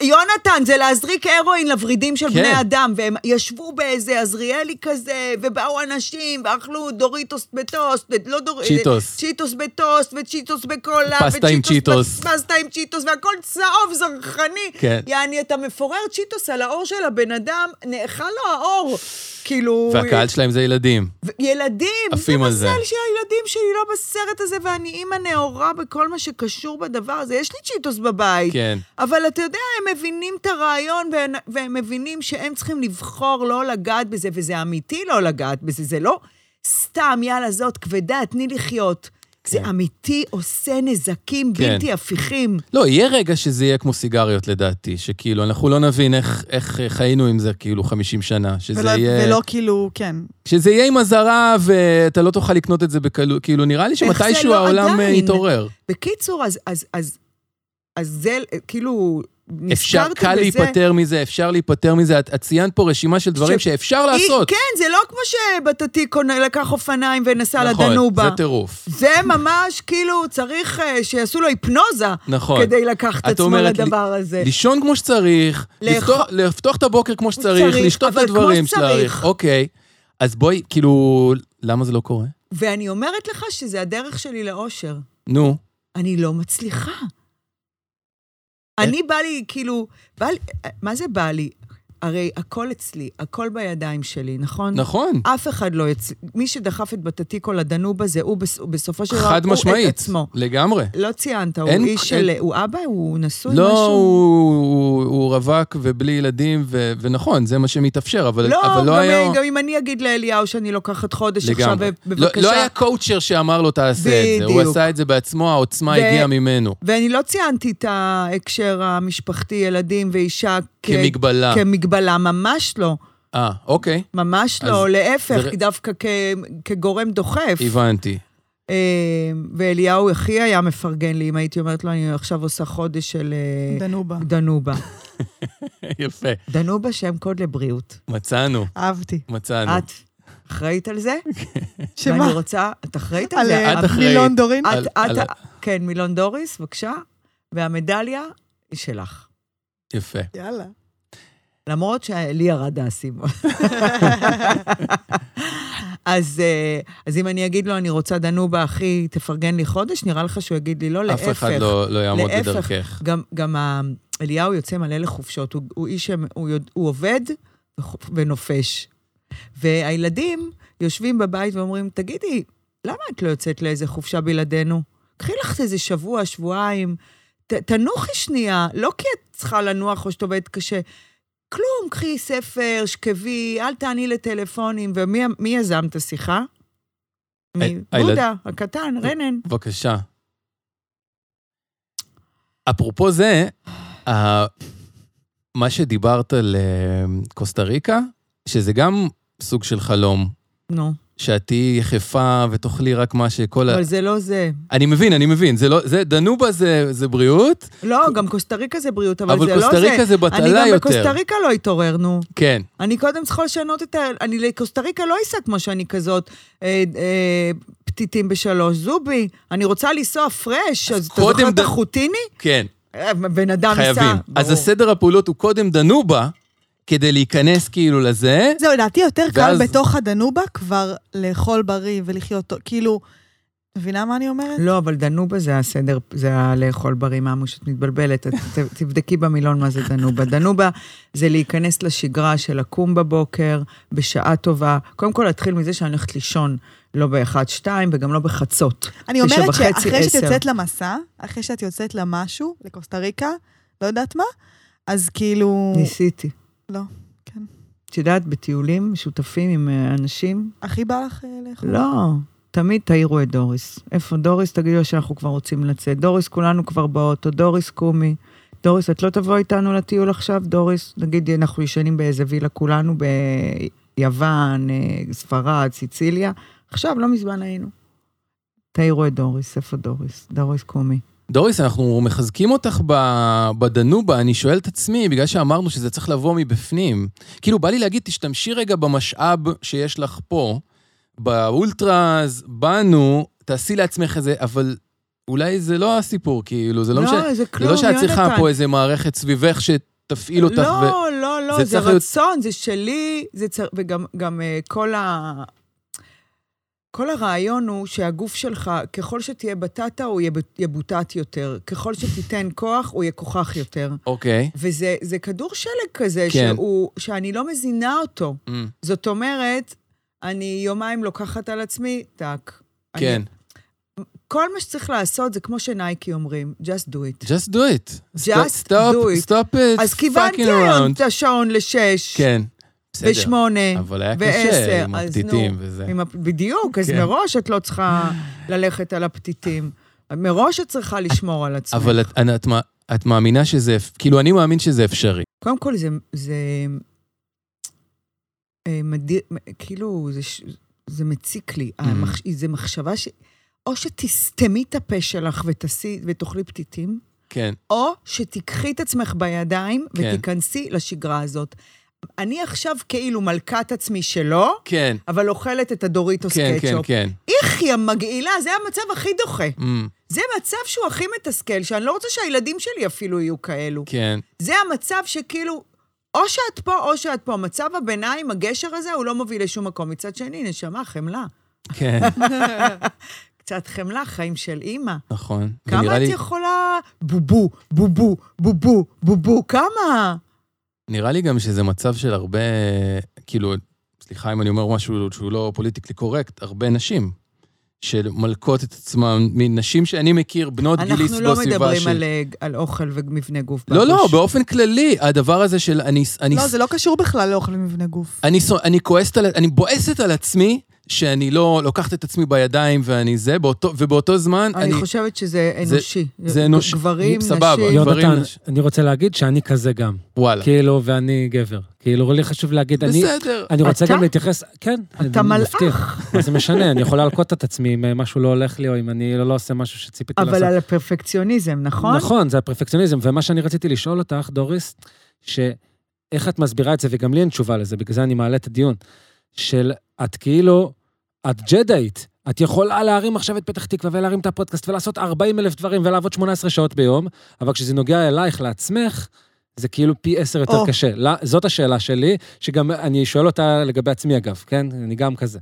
A: יונתן, זה להזריק הרואין לוורידים של
C: כן.
A: בני אדם, והם ישבו באיזה עזריאלי כזה, ובאו אנשים, ואכלו דוריטוס בטוסט, לא דוריטוס,
C: צ'יטוס.
A: צ'יטוס בטוסט, וצ'יטוס בקולה,
C: פסטה עם צ'יטוס.
A: ב- פסטה עם צ'יטוס, והכל צהוב, זרחני.
C: כן.
A: יעני, אתה מפורר צ'יטוס על האור של הבן אדם, נאכל לו האור. כאילו...
C: והקהל שלהם זה ילדים.
A: ו- ילדים,
C: עפים על זה.
A: מזל שהילדים שלי לא בסרט הזה, ואני אימא נאורה בכל מה שקשור בדבר הזה. יש לי צ'יטוס בבית.
C: כן.
A: אבל אתה יודע, הם מבינים את הרעיון, והם, והם מבינים שהם צריכים לבחור לא לגעת בזה, וזה אמיתי לא לגעת בזה, זה לא סתם, יאללה, זאת כבדה, תני לחיות. זה אמיתי עושה נזקים
C: כן.
A: בלתי הפיכים.
C: לא, יהיה רגע שזה יהיה כמו סיגריות, לדעתי, שכאילו, אנחנו לא נבין איך, איך חיינו עם זה כאילו 50 שנה. שזה
D: ולא-
C: יהיה...
D: ולא כאילו, כן.
C: שזה יהיה עם אזהרה, ואתה לא תוכל לקנות את זה בקלות. כאילו, נראה לי
A: זה
C: שמתישהו
A: לא
C: העולם אה,
A: עדיין?
C: יתעורר.
A: בקיצור, אז, אז, אז, אז זה, כאילו,
C: אפשר,
A: נזכרתי
C: קל
A: בזה.
C: להיפטר מזה, אפשר להיפטר מזה. את, את ציינת פה רשימה של דברים
A: ש-
C: שאפשר
A: היא-
C: לעשות.
A: כן, זה לא כמו שבתתיקו לקח אופניים ונסע
C: נכון,
A: לדנובה.
C: זה טירוף.
A: זה ממש כאילו צריך אה, שיעשו לו היפנוזה.
C: נכון.
A: כדי לקחת
C: את
A: עצמו
C: אומרת,
A: לדבר הזה.
C: לישון כמו שצריך,
A: לאכול-
C: לפתוח- לפתוח את הבוקר כמו שצריך,
A: צריך,
C: לשתות את
A: אבל כמו
C: הדברים
A: שצריך.
C: שצריך. אוקיי. אז בואי, כאילו, למה זה לא קורה?
A: ואני אומרת לך שזה הדרך שלי לאושר.
C: נו,
A: אני לא מצליחה.
C: אה.
A: אני בא לי, כאילו, בא לי, מה זה בא לי? הרי הכל אצלי, הכל בידיים שלי, נכון?
C: נכון.
A: אף אחד לא יצ... מי שדחף את בתתיקו לדנובה זה הוא בס... בסופו של דבר,
C: חד
A: הוא את
C: משמעית.
A: עצמו.
C: לגמרי.
A: לא ציינת, הוא
C: אין-
A: איש של...
C: אין-
A: הוא אבא? הוא נשוי?
C: לא,
A: משהו?
C: הוא, הוא, הוא רווק ובלי ילדים, ו, ונכון, זה מה שמתאפשר, אבל,
A: לא,
C: אבל
A: גם,
C: לא היה...
A: גם אם אני אגיד לאליהו שאני לוקחת חודש עכשיו,
C: לגמרי.
A: בבקשה.
C: לא, לא היה קואוצ'ר שאמר לו תעשה את זה, הוא
A: בדיוק.
C: עשה את זה בעצמו, העוצמה
A: ו-
C: הגיעה ממנו.
A: ואני לא ציינתי את ההקשר המשפחתי, ילדים ואישה כ-
C: כמגבלה.
A: כן. כמגבלה, ממש לא.
C: אה, אוקיי,
A: ממש
C: אז
A: לא, להפך,
C: זה-
A: דווקא כ... כגורם דוחף.
C: הבנתי.
A: אה, ואליהו הכי היה מפרגן לי, אם הייתי אומרת לו, אני עכשיו עושה חודש של אה,
D: דנובה.
A: דנובה.
C: יפה.
A: דנובה שם קוד לבריאות.
C: מצאנו,
D: אהבתי.
C: מצאנו.
A: את אחראית על זה?
D: שמה?
A: ואני רוצה, את אחראית על
D: על
A: זה?
D: אה,
C: את אחראית.
D: מילון דורין?
A: את-
C: על-
A: את-
C: על-
A: כן, מילון דוריס, בבקשה. והמדליה היא שלך.
C: יפה.
D: יאללה.
A: למרות שלי ירד האסימון. אז, אה, אז אם אני אגיד לו, אני רוצה דנובה, אחי, תפרגן לי חודש, נראה לך שהוא יגיד לי לא, להפך.
C: אף אחד לא, לא יעמוד
A: להפך.
C: בדרכך.
A: גם, גם ה... אליהו יוצא מלא לחופשות, הוא, הוא איש, שמ- הוא, יודע- הוא עובד וחופ- ונופש. והילדים יושבים בבית ואומרים, תגידי, למה את לא יוצאת לאיזה חופשה בלעדינו? קחי לך איזה שבוע, שבועיים, ת, תנוחי שנייה, לא כי את צריכה לנוח או שאת עובדת קשה. כלום, קחי ספר, שקבי, אל תעני לטלפונים. ומי מי יזם את השיחה?
C: הילד-
A: מבודה, הקטן, רנן.
C: בבקשה. אפרופו זה, ה- מה שדיברת על אה, קוסטה ריקה, שזה גם סוג של חלום,
A: נו,
C: שאת תהיי יחפה ותאכלי רק מה שכל ה...
A: אבל זה לא זה.
C: אני מבין, אני מבין. זה לא... זה... דנובה זה, זה בריאות,
A: לא, גם קוסטה ריקה זה בריאות, אבל,
C: אבל
A: זה
C: קוסטה
A: לא זה.
C: ריקה זה בטלה
A: אני גם
C: יותר.
A: בקוסטה ריקה לא התעוררנו.
C: כן.
A: אני קודם צריכה לשנות את ה... אני לקוסטה ריקה לא אסע כמו שאני כזאת אה, אה, פתיתים בשלוש. זובי, אני רוצה לנסוע פרש, אז אתה
C: קודם
A: זוכר את
C: ד-
A: החוטיני?
C: כן,
A: אה, בן אדם ניסה.
C: חייבים. אז
A: ברור.
C: הסדר הפעולות הוא קודם דנובה, כדי להיכנס כאילו לזה.
D: זהו, לדעתי יותר
C: ואז-
D: קל בתוך הדנובה כבר לאכול בריא ולחיות טוב, כאילו, מבינה מה אני אומרת?
A: לא, אבל דנובה זה הסדר, זה הלאכול בריא, ממוש, את מתבלבלת. את- ת- תבדקי במילון מה זה דנובה. דנובה זה להיכנס לשגרה של לקום בבוקר, בשעה טובה. קודם כל, להתחיל מזה שאני הולכת לישון, לא באחת-שתיים וגם לא בחצות.
D: אני אומרת
A: תשע וחצי,
D: שאחרי שאת
A: עשר.
D: יוצאת למסע, אחרי שאת יוצאת למשהו, לקוסטה ריקה, לא יודעת מה, אז כאילו...
A: ניסיתי.
D: לא, כן.
A: את יודעת, בטיולים משותפים עם אה, אנשים,
D: הכי בא לך אה, לאכול?
A: לא. תמיד תעירו את דוריס. איפה דוריס? תגידו לה שאנחנו כבר רוצים לצאת. דוריס, כולנו כבר באוטו. דוריס, קומי. דוריס, את לא תבואי איתנו לטיול עכשיו? דוריס, נגיד, אנחנו ישנים באיזה וילה כולנו, ביוון, אה, ספרד, סיציליה. עכשיו, לא מזמן היינו. תעירו את דוריס, איפה דוריס? דוריס, קומי.
C: דוריס, אנחנו מחזקים אותך ב- בדנובה, אני שואל את עצמי, בגלל שאמרנו שזה צריך לבוא מבפנים. כאילו, בא לי להגיד, תשתמשי רגע במשאב שיש לך פה, באולטראז, בנו, תעשי לעצמך איזה, אבל אולי זה לא הסיפור, כאילו, זה לא,
A: לא,
C: משנה.
A: זה
C: זה
A: כלום,
C: לא שאת צריכה
A: יונתן.
C: פה איזה מערכת סביבך שתפעיל אותך. ו...
A: לא, לא,
C: זה
A: לא, זה
C: צריך להיות-
A: רצון, זה שלי, זה צר... וגם גם, אה, כל ה... כל הרעיון הוא שהגוף שלך, ככל שתהיה בטטה, הוא יהיה ב- יבוטט יותר. ככל שתיתן כוח, הוא יכוכח יותר.
C: אוקיי.
A: וזה זה כדור שלג כזה,
C: כן.
A: שהוא, שאני לא מזינה אותו.
C: Mm,
A: זאת אומרת, אני יומיים לוקחת על עצמי, טאק. אני-
C: כן.
A: כל מה שצריך לעשות זה כמו שנייקי אומרים, just do it.
C: Just do it.
A: Just
C: Stop- stop-
A: do it.
C: Stop it.
A: אז
C: fucking
A: כיוונתי היום
C: around.
A: את השעון לשש.
C: כן. בסדר.
A: ושמונה,
C: אבל היה קשה
A: ועשר,
C: עם
A: אז
C: הפתיתים
A: נו,
C: וזה.
A: עם הפ- בדיוק, אז
C: כן.
A: מראש את לא צריכה ללכת על הפתיתים. מראש את צריכה לשמור על עצמך.
C: אבל את, את, את, את מאמינה שזה, אפ- כאילו, אני מאמין שזה אפשרי.
A: קודם כל, זה, זה אה, מדיר, מ- כאילו, זה, ש- זה מציק לי.
C: Mm-hmm.
A: המחש- זה מחשבה ש... או שתסתמי את הפה שלך ותעשי, ותאכלי פתיתים,
C: כן.
A: או שתיקחי את עצמך בידיים
C: כן.
A: ותיכנסי לשגרה הזאת. אני עכשיו כאילו מלכת עצמי שלו,
C: כן,
A: אבל אוכלת את הדוריטוס
C: כן, כן,
A: קטשופ.
C: כן.
A: יחי המגעילה, זה המצב הכי דוחה.
C: אמ,
A: זה מצב שהוא הכי מתסכל, שאני לא רוצה שהילדים שלי אפילו יהיו כאלו.
C: כן,
A: זה המצב שכאילו, או שאת פה או שאת פה. מצב הביניים, הגשר הזה, הוא לא מוביל לשום מקום. מצד שני, נשמה, חמלה.
C: כן,
A: קצת חמלה, חיים של אימא.
C: נכון.
A: כמה
C: ונראה
A: את
C: לי-
A: יכולה... בובו, בובו, בובו, בובו, כמה?
C: נראה לי גם שזה מצב של הרבה, כאילו, סליחה אם אני אומר משהו שהוא לא פוליטיקלי קורקט, הרבה נשים. של מלקות את עצמן, מנשים שאני מכיר, בנות גילי
A: אנחנו לא
C: בסביבה
A: מדברים
C: של...
A: על, אה, על אוכל ומבנה גוף.
C: לא, לא,
A: בראש.
C: באופן כללי, הדבר הזה של אני... אני
D: לא, זה לא קשור בכלל לאוכל במבנה גוף.
C: אני, סו- אני כועסת על... אני בועסת על עצמי שאני לא לוקחת את עצמי בידיים ואני זה, באותו, ובאותו זמן אני...
A: אני חושבת שזה
C: זה-
A: אנושי.
C: זה אנושי.
A: גברים,
C: סבבה.
A: נשים.
C: דברים-
E: יונתן, אני רוצה להגיד שאני כזה גם.
C: וואלה.
E: כאילו, ואני גבר. כאילו, לי חשוב להגיד,
A: כן,
E: אני...
C: בסדר.
E: אני רוצה
A: אתה?
E: גם להתייחס, כן.
A: אתה
E: אני
A: מלאך.
E: מבטיח. מה זה משנה, אני יכול להלקוט את עצמי אם אה, משהו לא הולך לי, או אם אני לא לא עושה משהו שציפיתי לעשות.
A: אבל על הפרפקציוניזם, נכון?
E: נכון, זה הפרפקציוניזם. ומה שאני רציתי לשאול אותך, דוריס, שאיך את מסבירה את זה, וגם לי אין תשובה לזה, בגלל זה אני מעלה את הדיון, של את כאילו, את ג'דאית. את יכולה להרים עכשיו את פתח תקווה ולהרים את הפודקאסט ולעשות 40 אלף דברים ולעבוד 18 שעות ביום, אבל כשזה נוגע אלייך, לעצמך, זה כאילו פי עשר יותר
D: או.
E: קשה. לא, זאת השאלה שלי, שגם אני שואל אותה לגבי עצמי אגב, כן? אני גם כזה.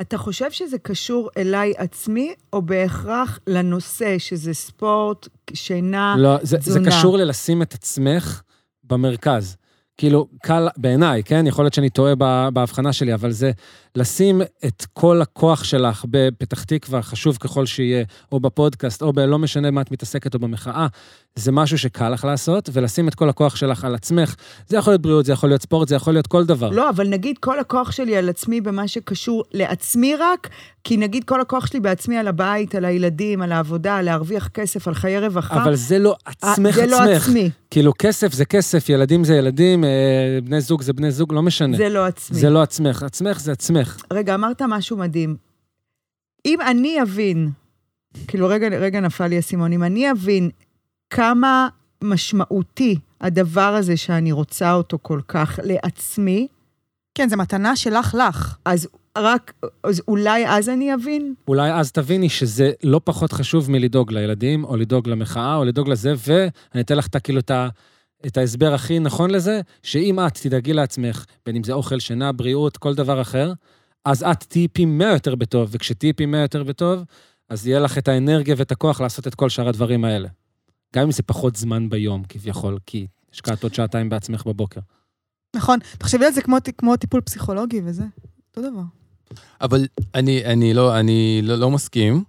A: אתה חושב שזה קשור אליי עצמי, או בהכרח לנושא, שזה ספורט, שינה?
E: לא, זה, זה
A: תזונה.
E: קשור ללשים את עצמך במרכז. כאילו, קל בעיניי, כן? יכול להיות שאני טועה ב- בהבחנה שלי, אבל זה לשים את כל הכוח שלך בפתח תקווה, חשוב ככל שיהיה, או בפודקאסט, או בלא משנה מה את מתעסקת, או במחאה, זה משהו שקל לך לעשות, ולשים את כל הכוח שלך על עצמך. זה יכול להיות בריאות, זה יכול להיות ספורט, זה יכול להיות כל דבר.
A: לא, אבל נגיד כל הכוח שלי על עצמי במה שקשור לעצמי רק, כי נגיד כל הכוח שלי בעצמי על הבית, על הילדים, על העבודה, על להרוויח כסף, על חיי רווחה.
E: אבל זה לא
A: אה,
E: עצמך
A: זה לא
E: עצמך.
A: עצמי.
E: כאילו, כסף זה כסף, ילדים זה ילדים, אה, בני זוג זה בני זוג, לא משנה.
A: זה לא עצמי.
E: זה לא עצמך, עצמך זה עצמך.
A: רגע, אמרת משהו מדהים. אם אני אבין, כאילו, רגע, רגע נפל לי האסימון, אם אני אבין כמה משמעותי הדבר הזה שאני רוצה אותו כל כך לעצמי,
D: כן, זו מתנה שלך לך.
A: אז רק, אז אולי אז אני אבין?
E: אולי אז תביני שזה לא פחות חשוב מלדאוג לילדים, או לדאוג למחאה, או לדאוג לזה, ואני אתן לך את ה- כאילו את ה... את ההסבר הכי נכון לזה, שאם את תדאגי לעצמך, בין אם זה אוכל, שינה, בריאות, כל דבר אחר, אז את תהיי פי מאה יותר בטוב, וכשתהיי פי מאה יותר בטוב, אז יהיה לך את האנרגיה ואת הכוח לעשות את כל שאר הדברים האלה. גם אם זה פחות זמן ביום, כביכול, כי השקעת עוד שעתיים בעצמך בבוקר.
D: נכון, תחשבי על זה כמו, כמו טיפול פסיכולוגי וזה. אותו דבר.
C: אבל אני, אני, לא, אני לא, לא מסכים.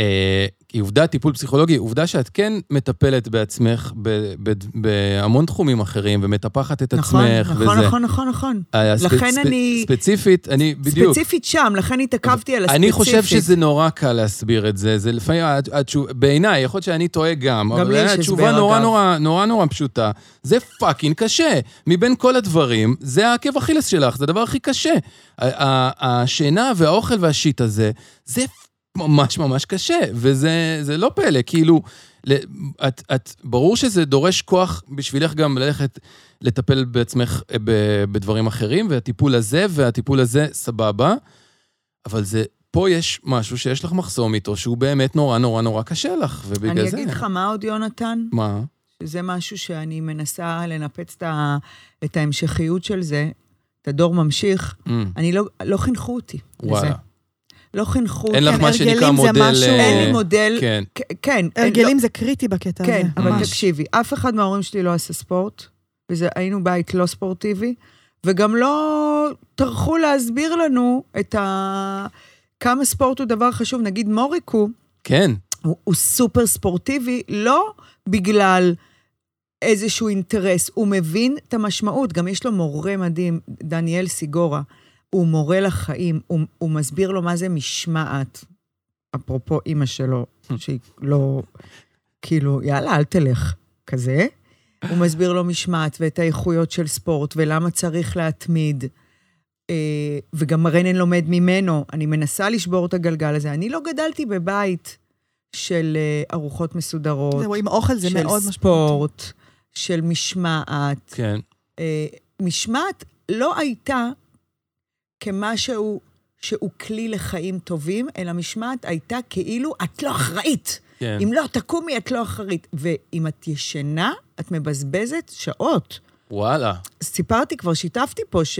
C: אה, כי עובדה, טיפול פסיכולוגי, עובדה שאת כן מטפלת בעצמך ב, ב, בהמון תחומים אחרים, ומטפחת את
A: נכון,
C: עצמך
A: נכון,
C: וזה.
A: נכון, נכון, נכון.
C: אה, הספ-
A: לכן
C: ספ-
A: אני-
C: ספציפית, אני, בדיוק.
A: ספציפית שם, לכן התעכבתי על הספציפית.
C: אני חושב שזה נורא קל להסביר את זה, זה לפעמים, התשוב- בעיניי, יכול להיות שאני טועה גם,
A: גם לי
C: אבל
A: יש
C: בעיניי
A: הסבר,
C: התשובה נורא
A: אגב.
C: נורא נורא נורא פשוטה, זה פאקינג קשה. מבין כל הדברים, זה העקב אכילס שלך, זה הדבר הכי קשה. ה- ה- השינה והאוכל והשיט הזה, זה ממש ממש קשה, וזה זה לא פלא, כאילו, ל- את, את, ברור שזה דורש כוח בשבילך גם ללכת לטפל בעצמך אה, ב, בדברים אחרים, והטיפול הזה והטיפול הזה, סבבה, אבל זה, פה יש משהו שיש לך מחסום איתו, שהוא באמת נורא נורא נורא קשה לך, ובגלל
A: אני
C: זה...
A: אגיד לך מה עוד, יונתן?
C: מה?
A: שזה משהו שאני מנסה לנפץ את, ה, את ההמשכיות של זה, את הדור ממשיך.
C: Mm,
A: אני לא, לא חינכו אותי לזה.
C: וואלה.
A: לא חינכו אותי.
C: אין לך
D: כן,
C: מה שנקרא
A: אוקיי,
D: הרגלים זה
C: מודל...
D: משהו-
C: אה,
A: אין לי מודל...
C: כן,
A: כ- כן. אין-
D: הרגלים זה קריטי בקטע
A: לא,
D: הזה.
A: כן, אבל
C: ממש.
A: תקשיבי, אף אחד מההורים שלי לא עשה ספורט, והיינו בית לא ספורטיבי, וגם לא טרחו להסביר לנו את ה... כמה ספורט הוא דבר חשוב. נגיד מוריקו,
C: כן,
A: הוא, הוא סופר ספורטיבי, לא בגלל איזשהו אינטרס, הוא מבין את המשמעות. גם יש לו מורה מדהים, דניאל סיגורה, הוא מורה לחיים, הוא, הוא מסביר לו מה זה משמעת. אפרופו אימא שלו, שהיא לא, כאילו, יאללה, אל תלך, כזה. הוא מסביר לו משמעת ואת האיכויות של ספורט ולמה צריך להתמיד. אה, וגם רנן לומד ממנו, אני מנסה לשבור את הגלגל הזה. אני לא גדלתי בבית של אה, ארוחות מסודרות,
D: זהו, עם אוכל זה
A: של
D: מאוד משמעותי.
A: ספורט, של משמעת.
C: כן.
A: אה, משמעת לא הייתה כמשהו שהוא כלי לחיים טובים, אלא משמעת הייתה כאילו, את לא אחראית.
C: כן.
A: אם לא תקומי, את לא אחראית. ואם את ישנה, את מבזבזת שעות.
C: וואלה.
A: סיפרתי כבר, שיתפתי פה, ש,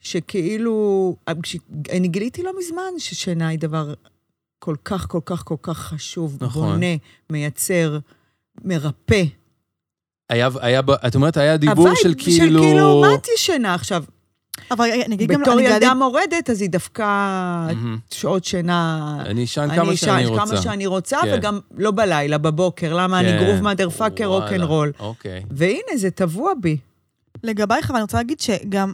A: שכאילו... אה, כש- אני גיליתי לא מזמן ששינה היא דבר כל כך, כל כך, כל כך חשוב.
C: נכון.
A: בונה, מייצר, מרפא.
C: היה, היה, ב- את אומרת, היה דיבור
A: הווייב
C: של כאילו...
A: של כאילו, מה את ישנה עכשיו?
D: אבל אני אגיד גם,
A: בתור
D: אני גדלתי-
A: ילדה מורדת, אז היא דווקא
C: מהמם.
A: שעות שינה...
C: אני אשן
A: אני
C: כמה
A: אשן
C: שאני רוצה.
A: כמה שאני רוצה,
C: כן.
A: וגם לא בלילה, בבוקר. למה אני
C: כן.
A: גרוב מאדר פאקר
C: וואלה,
A: רוקנרול?
C: אוקיי.
A: והנה, זה טבוע בי.
D: לגבייך, אבל אני רוצה להגיד שגם,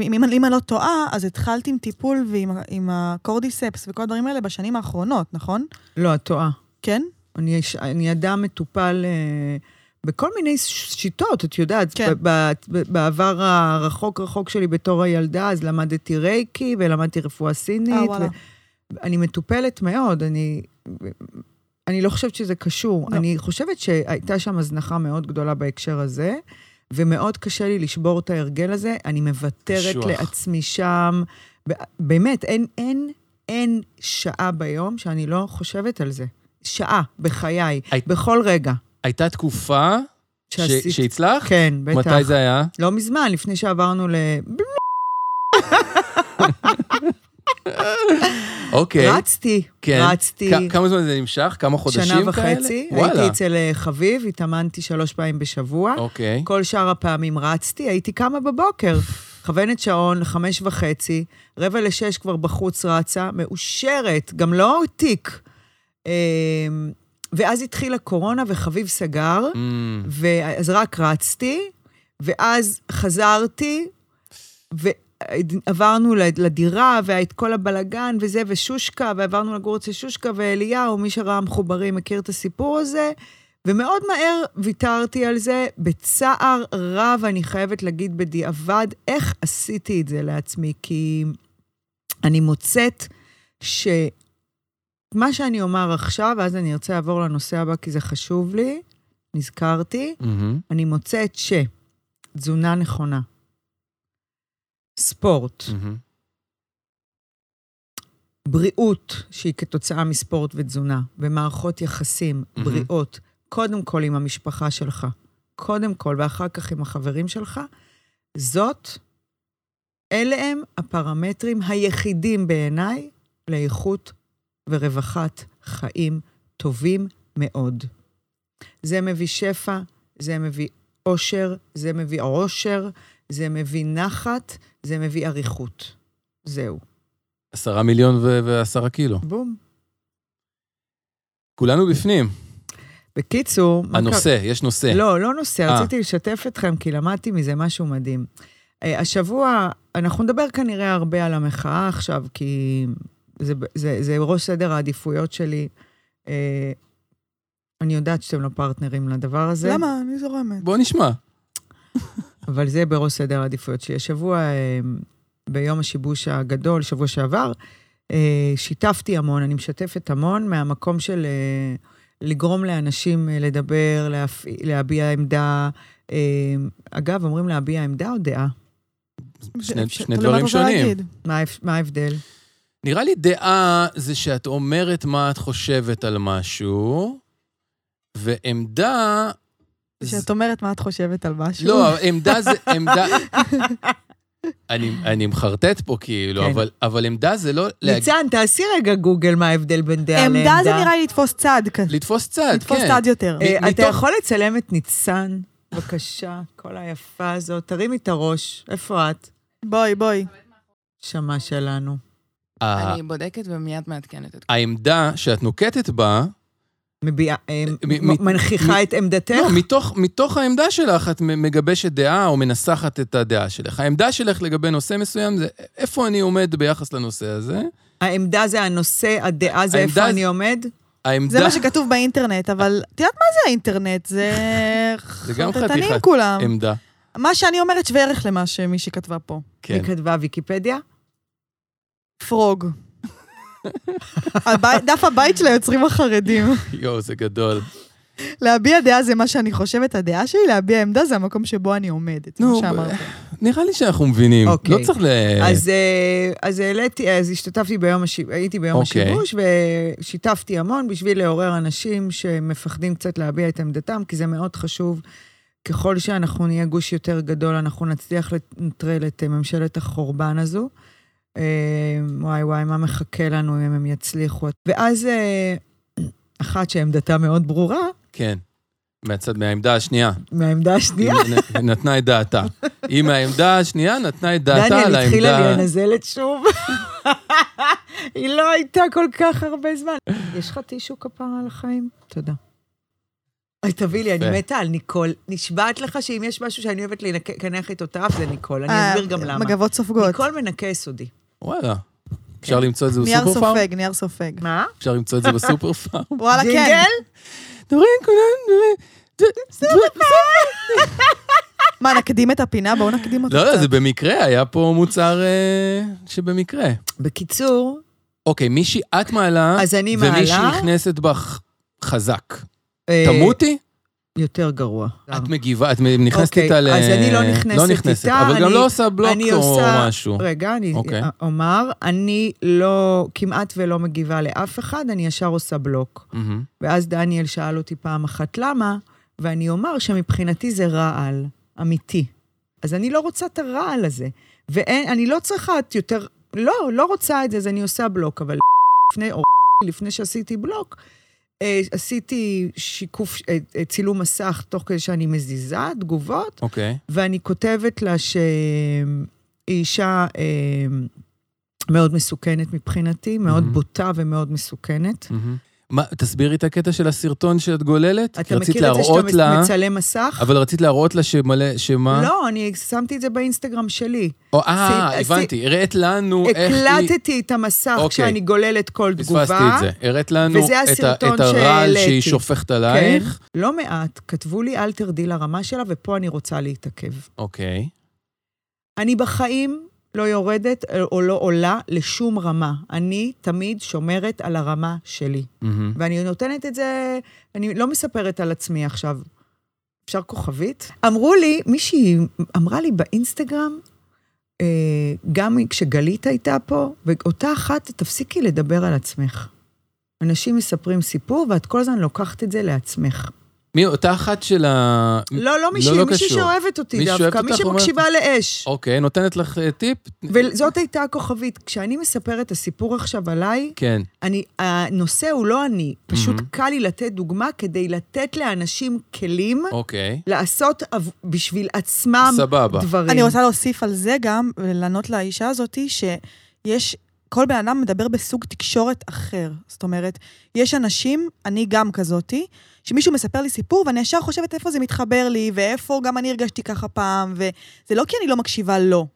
D: אם, אם, אם אני לא טועה, אז התחלת עם טיפול ועם ה- עם הקורדיספס וכל הדברים האלה בשנים האחרונות, נכון?
A: לא, את טועה.
D: כן?
A: אני, יש- אני אדם מטופל אה, בכל מיני ש- שיטות, את יודעת.
D: כן.
A: ב- ב- ב- בעבר הרחוק-רחוק שלי בתור הילדה, אז למדתי רייקי ולמדתי רפואה סינית.
D: אה, וואלה.
A: אני מטופלת מאוד, אני... אני לא חושבת שזה קשור.
D: לא.
A: לא. אני חושבת שהייתה שם הזנחה מאוד גדולה בהקשר הזה, ומאוד קשה לי לשבור את ההרגל הזה. אני מוותרת
C: קשוח.
A: שוח. לעצמי שם. ב- באמת, אין, אין, אין שעה ביום שאני לא חושבת על זה. שעה, בחיי,
C: הי-
A: בכל רגע.
C: הייתה תקופה ש-
A: שעשית-
C: שהצלחת?
A: כן, בטח.
C: מתי זה היה?
A: לא מזמן, לפני שעברנו ל...
C: אוקיי.
A: רצתי,
C: כן.
A: רצתי.
C: כ- כמה זמן זה נמשך? כמה חודשים
A: שנה
C: כאלה?
A: וחצי, הייתי אצל אה, חביב, התאמנתי שלוש פעמים בשבוע.
C: אוקיי.
A: כל שאר הפעמים רצתי, הייתי קמה בבוקר. מכוונת שעון לחמש וחצי, רבע לשש כבר בחוץ רצה, מאושרת, גם לא תיק. אה, ואז התחילה קורונה וחביב סגר,
C: Mm,
A: ואז רק רצתי, ואז חזרתי, ועברנו ל- לדירה, והיה את כל הבלגן וזה, ושושקה, ועברנו לגור אצל שושקה ואליהו, מי שראה מחוברים מכיר את הסיפור הזה. ומאוד מהר ויתרתי על זה, בצער רב, אני חייבת להגיד בדיעבד, איך עשיתי את זה לעצמי, כי אני מוצאת שמה שאני אומר עכשיו, ואז אני ארצה לעבור לנושא הבא, כי זה חשוב לי, נזכרתי,
C: מהמם.
A: אני מוצאת שתזונה נכונה, ספורט,
C: מהמם.
A: בריאות שהיא כתוצאה מספורט ותזונה, ומערכות יחסים
C: מהמם.
A: בריאות, קודם כל עם המשפחה שלך, קודם כל, ואחר כך עם החברים שלך, זאת, אלה הם הפרמטרים היחידים בעיניי לאיכות ורווחת חיים טובים מאוד. זה מביא שפע, זה מביא אושר, זה מביא עושר, זה מביא נחת, זה מביא אריכות. זהו.
C: עשרה מיליון ו- ועשרה קילו.
A: בום.
C: כולנו בפנים.
A: בקיצור... מה קרה-
C: הנושא, יש נושא.
A: לא, לא נושא,
C: אה.
A: רציתי לשתף אתכם, כי למדתי מזה משהו מדהים. אה, השבוע, אנחנו נדבר כנראה הרבה על המחאה עכשיו, כי זה, זה, זה ראש סדר העדיפויות שלי. אה, אני יודעת שאתם לא פרטנרים לדבר הזה.
D: למה? אני זורמת.
C: בוא נשמע.
A: אבל זה בראש סדר העדיפויות שלי. השבוע, אה, ביום השיבוש הגדול, שבוע שעבר, אה, שיתפתי המון, אני משתפת המון מהמקום של אה, לגרום לאנשים אה, לדבר, להפ... להביע עמדה. אה, אגב, אומרים להביע עמדה או דעה?
C: שני-
D: ש-
C: שני
D: תלוי מה את
C: דברים
D: רוצה
C: שונים.
D: להגיד.
A: מה, ההפ- מה ההבדל?
C: נראה לי דעה זה שאת אומרת מה את חושבת על משהו, ועמדה... זה-
D: שאת אומרת מה את חושבת על משהו.
C: לא, עמדה זה... עמדה... אני, אני מחרטט פה כאילו,
A: כן.
C: אבל, אבל עמדה זה לא... להג...
A: ניצן, תעשי רגע גוגל מה ההבדל בין דעה לעמדה.
D: עמדה זה נראה לי לתפוס צד כזה.
C: לתפוס צד,
D: לתפוס
C: כן.
D: צד יותר.
A: אה,
C: מ-
A: אתה
C: מתוך-
A: יכול לצלם את ניצן? בבקשה, כל היפה הזאת. תרימי את הראש. איפה את?
D: בואי, בואי.
A: שמה שלנו.
C: ה-
G: אני בודקת ומיד מעדכנת את
C: העמדה שאת נוקטת בה,
A: מביעה, אה,
C: מ- מ-
A: מנכיחה
C: מ-
A: את עמדתך?
C: לא, מתוך, מתוך העמדה שלך את מ- מגבשת דעה או מנסחת את הדעה שלך. העמדה שלך לגבי נושא מסוים זה איפה אני עומד ביחס לנושא הזה.
A: העמדה זה הנושא, הדעה זה
C: העמדה
A: איפה
C: זה-
A: אני עומד?
C: העמדה...
D: זה מה שכתוב באינטרנט, אבל את יודעת מה זה האינטרנט? זה
C: אה. זה גם
D: חטטנים
C: חתיכת
D: כולם.
C: עמדה.
D: מה שאני אומרת שווה ערך למה שמי שכתבה פה.
C: כן.
A: היא כתבה ויקיפדיה?
D: פרוג. הבית- דף הבית של היוצרים החרדים.
C: יואו, זה גדול.
D: להביע דעה זה מה שאני חושבת, הדעה שלי, להביע עמדה זה המקום שבו אני עומדת,
C: נו, ב-
D: כמו שאמרת.
C: נראה לי שאנחנו מבינים.
A: אוקיי.
C: לא צריך ל...
A: אז, אה, אז העליתי, אז השתתפתי ביום השיבוש, הייתי ביום
C: אוקיי.
A: השיבוש, ושיתפתי המון בשביל לעורר אנשים שמפחדים קצת להביע את עמדתם, כי זה מאוד חשוב. ככל שאנחנו נהיה גוש יותר גדול, אנחנו נצליח לנטרל את אה, ממשלת החורבן הזו. אה, וואי וואי, מה מחכה לנו אם הם יצליחו? ואז אה, אחת שעמדתה מאוד ברורה,
C: כן. מהצד, מהעמדה השנייה.
A: מהעמדה השנייה,
C: היא נ- נתנה את דעתה. היא מהעמדה השנייה נתנה את דעתה על
A: דניאל התחילה
C: העמדה...
A: לנזלת שוב. היא לא הייתה כל כך הרבה זמן. יש לך טישו כפרה על החיים? תודה. אוי, תביא לי, אני
C: יפה.
A: מתה על ניקול. נשבעת לך שאם יש משהו שאני אוהבת לקנח איתו את האף, זה ניקול. אני
D: אה,
A: אסביר גם למה.
D: מגבות סופגות.
A: ניקול מנקה יסודי.
C: וואלה. אפשר
A: כן.
C: למצוא את זה
D: נייר
C: בסופר פארם?
D: סופג, נייר סופג.
A: מה?
C: אפשר למצוא את זה בסופר פארם?
D: וואלה, כן.
A: ג'ינגל?
C: דורין, כולם...
D: מה, נקדים את הפינה? בואו נקדים אותה
C: לא, לא, זה
D: קצת.
C: במקרה, היה פה מוצר אה, שבמקרה.
A: בקיצור,
C: אוקיי, מישהי את מעלה,
A: אז אני
C: ומישהי
A: מעלה...
C: נכנסת בך חזק.
A: אה,
C: תמותי?
A: יותר גרוע. אה,
C: את מגיבה, את נכנסת
A: אוקיי,
C: איתה ל...
A: אז אני לא נכנסת
C: לא נכנסת,
A: איתה,
C: אבל גם
A: אני-
C: לא עושה בלוק
A: אני
C: או
A: עושה-
C: משהו.
A: רגע, אני
C: אוקיי.
A: אומר, אני לא, כמעט ולא מגיבה לאף אחד, אני ישר עושה בלוק.
C: מהמם.
A: ואז דניאל שאל אותי פעם אחת למה, ואני אומר שמבחינתי זה רעל, אמיתי. אז אני לא רוצה את הרעל הזה. ואני לא צריכה את יותר, לא, לא רוצה את זה, אז אני עושה בלוק, אבל לפני, או לפני שעשיתי בלוק, אה, עשיתי שיקוף, אה, אה, צילום מסך תוך כדי שאני מזיזה, תגובות,
C: אוקיי.
A: ואני כותבת לה שהיא אישה אה, מאוד מסוכנת מבחינתי, מאוד
C: מהמם.
A: בוטה ומאוד מסוכנת.
C: מהמם. מה, תסבירי את הקטע של הסרטון שאת גוללת? כי
A: אתה
C: רצית
A: מכיר את זה
C: להראות
A: שאתה
C: לה,
A: מצלם מסך?
C: אבל רצית להראות לה שמלא, שמה?
A: לא, אני שמתי את זה באינסטגרם שלי.
C: או, אה,
A: עשית-
C: הבנתי, הראת לנו איך היא...
A: הקלטתי את המסך
C: אוקיי.
A: כשאני גוללת כל תגובה.
C: פספסתי את זה. הראת לנו
A: וזה
C: את ה-
A: הסרטון
C: את הרעל שהיא
A: שהעליתי.
C: שופכת
A: כן,
C: עלייך.
A: לא מעט. כתבו לי, אל תרדי לרמה שלה, ופה אני רוצה להתעכב.
C: אוקיי.
A: אני בחיים לא יורדת או לא עולה לשום רמה. אני תמיד שומרת על הרמה שלי.
C: מהמם.
A: ואני נותנת את זה, אני לא מספרת על עצמי עכשיו. אפשר כוכבית? אמרו לי, מישהי אמרה לי באינסטגרם, אה, גם כשגלית הייתה פה, ואותה אחת, תפסיקי לדבר על עצמך. אנשים מספרים סיפור, ואת כל הזמן לוקחת את זה לעצמך.
C: מי, אותה אחת של ה...
A: לא, לא מישהי,
C: לא, לא
A: מישהי
C: קשור.
A: שאוהבת אותי
C: מישהי שאוהבת
A: דווקא,
C: אותך
A: מי
C: אומרת-
A: שמקשיבה לאש.
C: אוקיי, נותנת לך אה, טיפ?
A: וזאת הייתה הכוכבית. כשאני מספרת את הסיפור עכשיו עליי,
C: כן.
A: אני, הנושא הוא לא אני, פשוט
C: מהמם.
A: קל לי לתת דוגמה כדי לתת לאנשים כלים
C: אוקיי.
A: לא. לעשות עב- בשביל עצמם
C: סבבה.
A: דברים.
D: אני רוצה להוסיף על זה גם, ולענות לאישה הזאת, שיש, כל בן אדם מדבר בסוג תקשורת אחר. זאת אומרת, יש אנשים, אני גם כזאתי, שמישהו מספר לי סיפור, ואני ישר חושבת איפה זה מתחבר לי, ואיפה גם אני הרגשתי ככה פעם, וזה לא כי אני לא מקשיבה לו.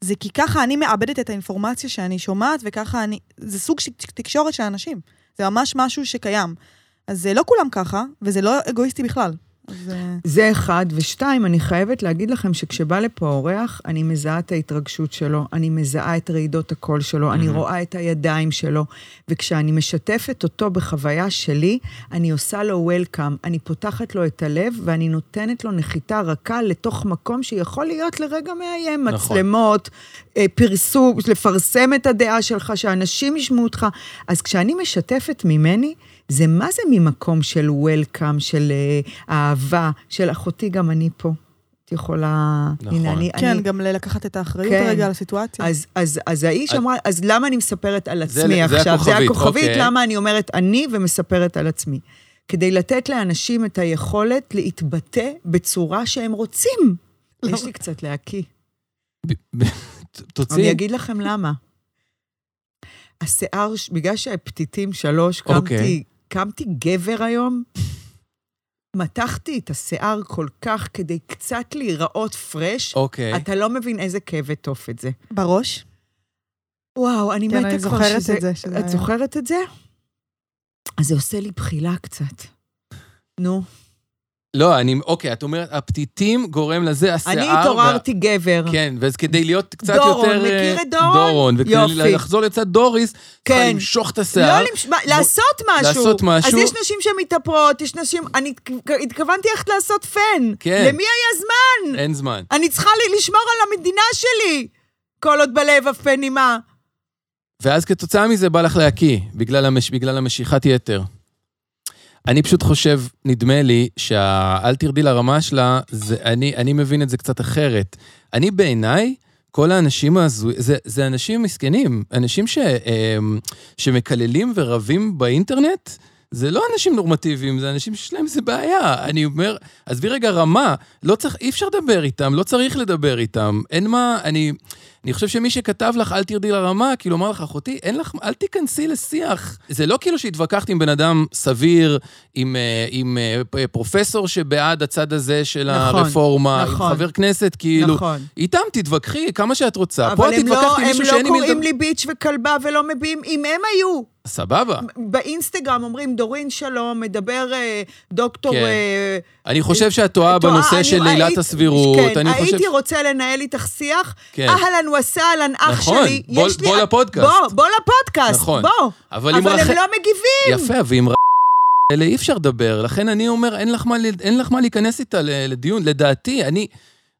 D: זה כי ככה אני מאבדת את האינפורמציה שאני שומעת, וככה אני... זה סוג של תקשורת של אנשים. זה ממש משהו שקיים. אז זה לא כולם ככה, וזה לא אגואיסטי בכלל. אז... אה,
A: זה אחד. ושתיים, אני חייבת להגיד לכם שכשבא לפה אורח, אני מזהה את ההתרגשות שלו, אני מזהה את רעידות הקול שלו,
C: Mm-hmm.
A: אני רואה את הידיים שלו, וכשאני משתפת אותו בחוויה שלי, אני עושה לו וולקאם, אני פותחת לו את הלב, ואני נותנת לו נחיתה רכה לתוך מקום שיכול להיות לרגע מאיים.
C: נכון.
A: מצלמות, אה, פרסום, לפרסם את הדעה שלך, שאנשים ישמעו אותך. אז כשאני משתפת ממני, זה מה זה ממקום של וולקאם, של אה, אהבה, של אחותי, גם אני פה. את יכולה...
C: נכון.
A: הנה, אני...
D: כן,
A: אני...
D: גם לקחת את האחריות
A: כן.
D: רגע על הסיטואציה.
A: אז, אז, אז האיש
C: אז-
A: אמרה, אז למה אני מספרת על
C: זה-
A: עצמי
C: זה
A: עכשיו?
C: הכוכבית, אוקיי.
A: למה אני אומרת אני ומספרת על עצמי. כדי לתת לאנשים את היכולת להתבטא בצורה שהם רוצים.
D: לא.
A: יש לי קצת להקיא.
C: ב- ב- ת-
A: אני
C: תוציאי.
A: אגיד לכם למה. השיער, ש- בגלל שהפתיתים שלוש,
C: אוקיי.
A: קמתי, קמתי גבר היום, מתחתי את השיער כל כך כדי קצת להיראות פרש.
C: אוקיי.
A: אתה לא מבין איזה כאב ותופת זה.
D: בראש?
A: וואו, אני
D: כן,
A: מתה
D: אני
A: כבר
D: זוכרת
A: שזה...
D: את זה, שזה
A: את
D: היה.
A: זוכרת את זה? אז זה עושה לי בחילה קצת. נו,
C: לא, אני... אוקיי, את אומרת, הפתיתים גורם לזה, השיער...
A: אני
C: וה-
A: התעוררתי גבר.
C: כן, ואז כדי להיות קצת
A: דורון,
C: יותר...
A: מכיר
C: אה,
A: את דורון?
C: דורון, וכדי
A: יופי.
C: לחזור לצד דוריס, צריכה
A: כן.
C: למשוך את
A: לא
C: השיער.
A: למש... מה, לעשות משהו.
C: לעשות משהו.
A: אז יש נשים שמתאפרות, יש נשים... אני התכו- התכוונתי איך לעשות פן.
C: כן.
A: למי היה זמן?
C: אין זמן.
A: אני צריכה ל- לשמור על המדינה שלי. כל עוד בלב אף פן אימה.
C: ואז כתוצאה מזה בא לך להקיא, בגלל, המש... בגלל המשיכת יתר. אני פשוט חושב, נדמה לי, שהאל תרדי לרמה שלה, זה, אני, אני מבין את זה קצת אחרת. אני בעיניי, כל האנשים ההזויים, זה, זה אנשים מסכנים, אנשים ש, אמ, שמקללים ורבים באינטרנט, זה לא אנשים נורמטיביים, זה אנשים שיש להם איזה בעיה. אני אומר, עזבי רגע רמה, לא צריך, אי אפשר לדבר איתם, לא צריך לדבר איתם. אין מה, אני, אני חושב שמי שכתב לך, אל תרדי לרמה, כאילו אמר לך, אחותי, אין לך, אל תיכנסי לשיח. זה לא כאילו שהתווכחת עם בן אדם סביר, עם, אה, עם אה, פ- פרופסור שבעד הצד הזה של
A: נכון,
C: הרפורמה,
A: נכון.
C: עם חבר כנסת, כאילו,
A: נכון.
C: איתם תתווכחי כמה שאת רוצה. פה
A: אבל
C: את
A: הם לא,
C: התווכחת עם
A: הם
C: מישהו
A: לא
C: שאין עם מי
A: קוראים
C: לדבר.
A: לי ביץ' וכלבה ולא מביעים, אם הם היו
C: סבבה.
A: באינסטגרם אומרים דורין שלום, מדבר אה, דוקטור...
C: כן.
A: אה,
C: אני חושב שאת טועה
A: טועה,
C: בנושא
A: אה, אני-
C: של
A: היית-
C: עילת הסבירות.
A: כן,
C: אני חושב...
A: הייתי רוצה לנהל איתך שיח,
C: כן.
A: אהלן וסהלן, אח
C: נכון,
A: שלי.
C: בוא-
A: יש לי-
C: בוא לפודקאסט.
A: בוא, בוא לפודקאסט,
C: נכון.
A: בוא.
C: אבל אם
A: אבל
C: רחל...
A: הם לא מגיבים.
C: יפה, ואם ר... אלה אי אפשר לדבר. לכן אני אומר, אין לך מה, ל- אין לך מה להיכנס איתה ל- לדיון. לדעתי, אני,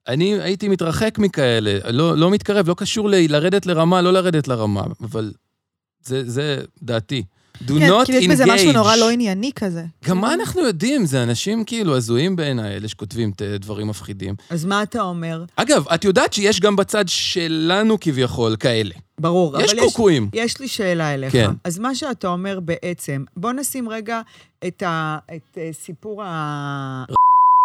C: אני הייתי מתרחק מכאלה. לא, לא מתקרב, לא קשור ל... לרדת לרמה, לא לרדת לרמה. אבל זה, זה דעתי. Do
D: כן,
C: not
D: כאילו יש בזה
C: engage.
D: משהו נורא לא ענייני כזה.
C: גם מה אנחנו יודעים? זה אנשים כאילו הזויים בעיניי, אלה שכותבים ת- דברים מפחידים.
A: אז מה אתה אומר?
C: אגב, את יודעת שיש גם בצד שלנו כביכול כאלה.
A: ברור,
C: יש
A: אבל
C: קוקואים.
A: יש לי שאלה אליך.
C: כן.
A: אז מה שאתה אומר בעצם, בוא נשים רגע את, ה, את אה, סיפור ה...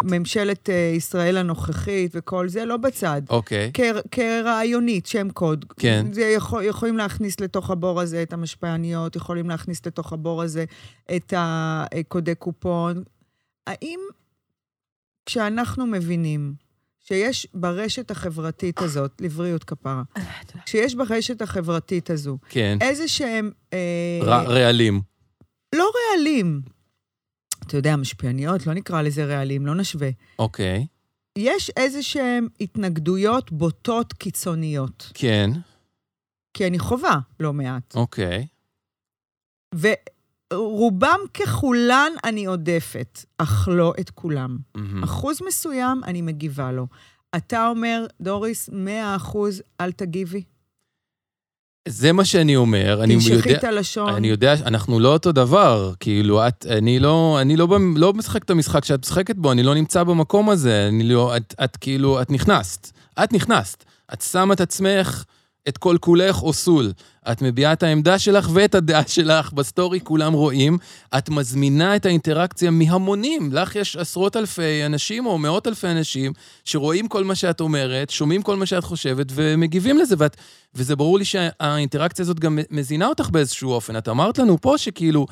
A: ממשלת אה, ישראל הנוכחית וכל זה, לא בצד.
C: אוקיי.
A: כ- כרעיונית, שם קוד.
C: כן.
A: זה יכול, יכולים להכניס לתוך הבור הזה את המשפיעניות, יכולים להכניס לתוך הבור הזה את הקודי קופון. האם כשאנחנו מבינים שיש ברשת החברתית הזאת, לבריאות כפרה, כשיש ברשת החברתית הזו
C: כן.
A: איזה שהם... אה,
C: ר- רעלים.
A: לא רעלים. אתה יודע, משפיעניות, לא נקרא לזה רעלים, לא נשווה.
C: אוקיי.
A: יש איזה שהן התנגדויות בוטות קיצוניות.
C: כן.
A: כי אני חווה לא מעט.
C: אוקיי.
A: ורובם ככולן אני עודפת, אך לא את כולם.
C: מהמם.
A: אחוז מסוים אני מגיבה לו. אתה אומר, דוריס, 100 אחוז, אל תגיבי.
C: זה מה שאני אומר. אני
A: תמשכי
C: יודע...
A: את הלשון.
C: אני יודע, אנחנו לא אותו דבר, כאילו, את, אני לא, אני לא, במ- לא משחק את המשחק שאת משחקת בו, אני לא נמצא במקום הזה, אני לא, את, את כאילו, את נכנסת, את נכנסת, את שמה את עצמך, את כל כולך אוסול, את מביעה את העמדה שלך ואת הדעה שלך, בסטורי כולם רואים, את מזמינה את האינטראקציה מהמונים, לך יש עשרות אלפי אנשים או מאות אלפי אנשים שרואים כל מה שאת אומרת, שומעים כל מה שאת חושבת ומגיבים לזה, ואת וזה ברור לי שהאינטראקציה הזאת גם מזינה אותך באיזשהו אופן. את אמרת לנו פה שכאילו,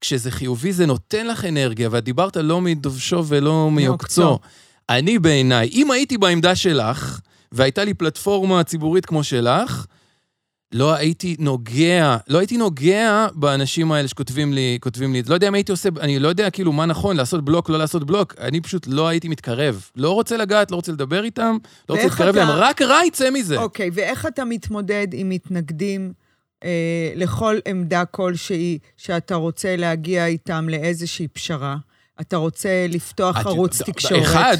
C: כשזה חיובי זה נותן לך אנרגיה, ואת דיברת לא מדובשו ולא מעוקצו.
A: מעוקצו.
C: אני בעיניי, אם הייתי בעמדה שלך, והייתה לי פלטפורמה ציבורית כמו שלך, לא הייתי נוגע, לא הייתי נוגע באנשים האלה שכותבים לי, כותבים לי, לא יודע מה הייתי עושה, אני לא יודע כאילו מה נכון, לעשות בלוק, לא לעשות בלוק, אני פשוט לא הייתי מתקרב. לא רוצה לגעת, לא רוצה לדבר איתם, לא רוצה
A: ואיך
C: להתקרב
A: אתה-
C: להם, רק רע יצא מזה.
A: אוקיי, ואיך אתה מתמודד עם מתנגדים אה, לכל עמדה כלשהי שאתה רוצה להגיע איתם לאיזושהי פשרה? אתה רוצה לפתוח
C: את-
A: ערוץ
C: ד- ד-
A: תקשורת?
C: אחד,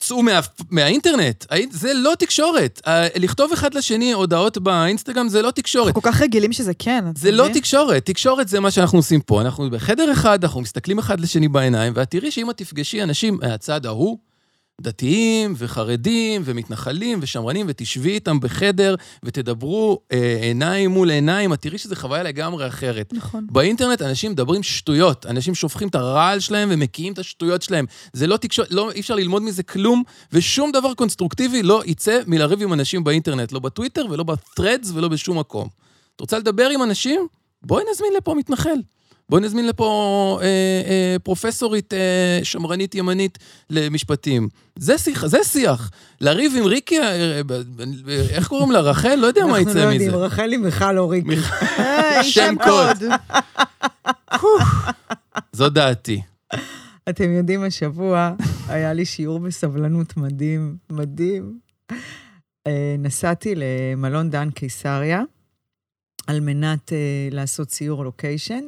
C: צאו מה, מהאינטרנט. האינ- זה לא תקשורת. אה, לכתוב אחד לשני הודעות באינסטגרם זה לא תקשורת.
D: אנחנו כל כך רגילים שזה כן, אתה
C: זה לא
D: מבין?
C: תקשורת, תקשורת זה מה שאנחנו עושים פה. אנחנו בחדר אחד, אנחנו מסתכלים אחד לשני בעיניים, ואת תראי שאם את תפגשי אנשים מהצד ההוא, דתיים וחרדים ומתנחלים ושמרנים, ותשבי איתם בחדר ותדברו אה, עיניים מול עיניים, את תראי שזו חוויה לגמרי אחרת.
D: נכון.
C: באינטרנט אנשים מדברים שטויות, אנשים שופכים את הרעל שלהם ומקיאים את השטויות שלהם. זה לא תקשורת, לא, אי אפשר ללמוד מזה כלום, ושום דבר קונסטרוקטיבי לא יצא מלריב עם אנשים באינטרנט, לא בטוויטר ולא ב-threads ולא בשום מקום. את רוצה לדבר עם אנשים? בואי נזמין לפה מתנחל. בואי נזמין לפה אה, אה, פרופסורית אה, שמרנית ימנית למשפטים. זה שיח, זה שיח. לריב עם ריקי, אה, אה, אה, איך קוראים לה? רחל? לא יודע מה יצא מזה.
A: אנחנו לא יודעים, רחלי מיכל אוריק.
D: היי,
C: שם קוד. זו דעתי.
A: אתם יודעים, השבוע היה לי שיעור בסבלנות מדהים, מדהים. אה, נסעתי למלון דן קיסריה על מנת אה, לעשות סיור לוקיישן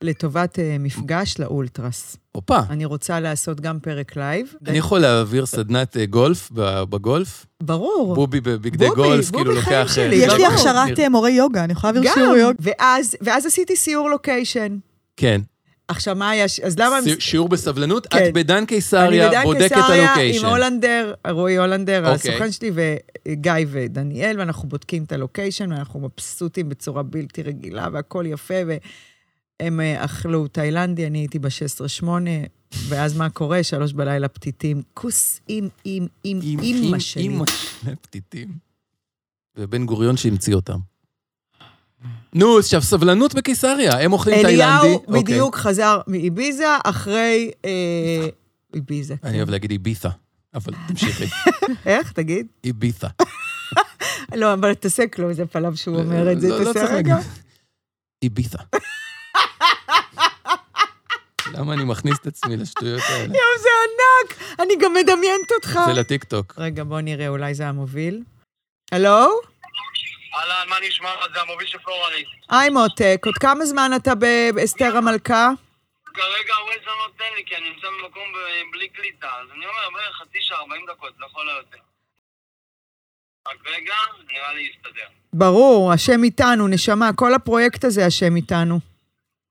A: לטובת אה, מפגש לאולטרס.
C: הופה,
A: אני רוצה לעשות גם פרק לייב.
C: אני יכול להעביר סדנת אה, גולף ב- בגולף?
A: ברור.
C: בובי בבגדי
A: בובי,
C: גולף,
A: בובי
C: כאילו
A: חיים
C: לוקח... אה,
A: שלי.
D: יש לי
A: ברור.
D: הכשרת אה, מורה יוגה, אני יכולה להעביר
A: גם,
D: שיעור יוגה.
A: ואז, ואז עשיתי סיור לוקיישן.
C: כן.
A: עכשיו, מה היה? ש- אז למה... הם-
C: סי- שיעור בסבלנות,
A: כן.
C: את בדן
A: אני
C: קיסריה
A: בדן
C: בודקת
A: קיסריה עם
C: הלוקיישן.
A: הולנדר, רועי הולנדר,
C: אוקיי.
A: הסוכן שלי, וגיא ודניאל, ואנחנו בודקים את הלוקיישן, ואנחנו מבסוטים בצורה בלתי רגילה, והכול יפה, והם אה, אכלו תאילנדי, אני הייתי ב-16-8, ואז מה קורה? שלוש בלילה פתיתים, כוס עם, עם, עם,
C: עם-
A: אימא
C: עם-
A: שלי.
C: אימא שלי, פתיתים. ובן גוריון שהמציא אותם. נו, אז עכשיו סבלנות בקיסריה, הם אוכלים תאילנדי.
A: אליהו
C: אוקיי.
A: בדיוק חזר מאביזה אחרי... אה, איביזה.
C: אוקיי. אני אוהב להגיד איביתה, אבל תמשיכי.
A: איך? תגיד.
C: איביתה.
A: לא, אבל תעשה כלום, זה פלאב שהוא אומר את זה.
C: לא- לא צריך
A: תעשה
C: להגיד.
A: רגע.
C: איביתה. למה אני מכניס את עצמי לשטויות האלה?
A: יואו, זה ענק! אני גם מדמיינת אותך.
C: זה לטיקטוק.
A: רגע, בוא נראה, אולי זה המוביל. הלו?
F: אהלן, מה נשמע? זה המוביל של פלורליס.
A: היי מותק, עוד כמה זמן אתה באסתר המלכה?
F: כרגע הווייז לא נותן לי, כי אני נמצא במקום ב- בלי קליטה. אז אני אומר, בערך חצי שעה, 40 דקות, לכל היותר. רק רגע, נראה לי יסתדר.
A: ברור, השם איתנו, נשמה, כל הפרויקט הזה השם איתנו.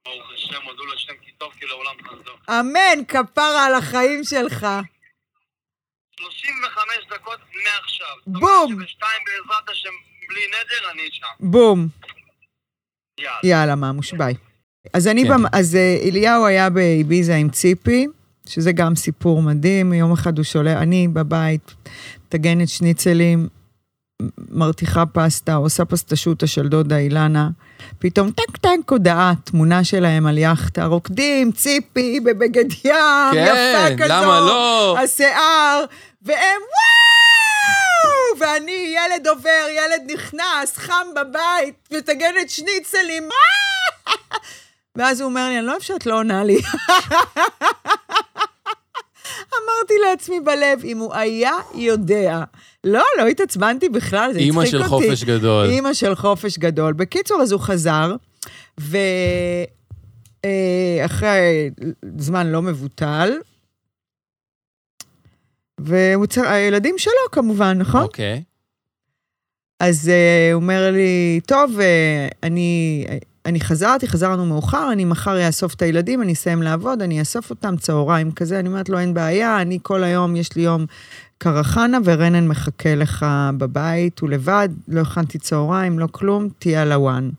F: ברוך השם, הודו לשם כי טוב, כי לעולם חסדו.
A: אמן, כפרה על החיים שלך.
F: 35 דקות מעכשיו.
A: בום.
F: שתיים בעזרת השם, בלי נדר, אני שם.
A: בום.
F: יאללה.
A: יאללה, ממוש, ביי. אז אני,
C: כן.
A: במ... אז אה, אליהו היה באביזה עם ציפי, שזה גם סיפור מדהים. יום אחד הוא שולח, אני בבית, מטגנת שניצלים, מרתיחה פסטה, עושה פסטשוטה של דודה אילנה. פתאום טק טק הודעה, תמונה שלהם על יכטה, רוקדים, ציפי בבגד ים,
C: כן,
A: יפה כזו.
C: למה לא?
A: השיער, והם וואו! ואני, ילד עובר, ילד נכנס, חם בבית, מטגנת שניצלים, וואו! ואז הוא אומר לי, אני לא אוהב שאת לא עונה לי. אמרתי לעצמי בלב, אם הוא היה יודע. לא, לא התעצבנתי בכלל, זה הצחיק
C: אימא
A: אותי.
C: של חופש גדול.
A: אימא של חופש גדול. בקיצור, אז הוא חזר, ו... אה, אחרי זמן לא מבוטל, והוא צר... הילדים שלו כמובן, נכון?
C: אוקיי.
A: אז אה, הוא אומר לי, טוב, אה, אני, אני חזרתי, חזרנו מאוחר, אני מחר אאסוף את הילדים, אני אסיים לעבוד, אני אאסוף אותם, צהריים כזה. אני אומרת לו, אין בעיה, אני כל היום, יש לי יום קרחנה, ורנן מחכה לך בבית, הוא לבד, לא הכנתי צהריים, לא כלום, תהיה על הוואן.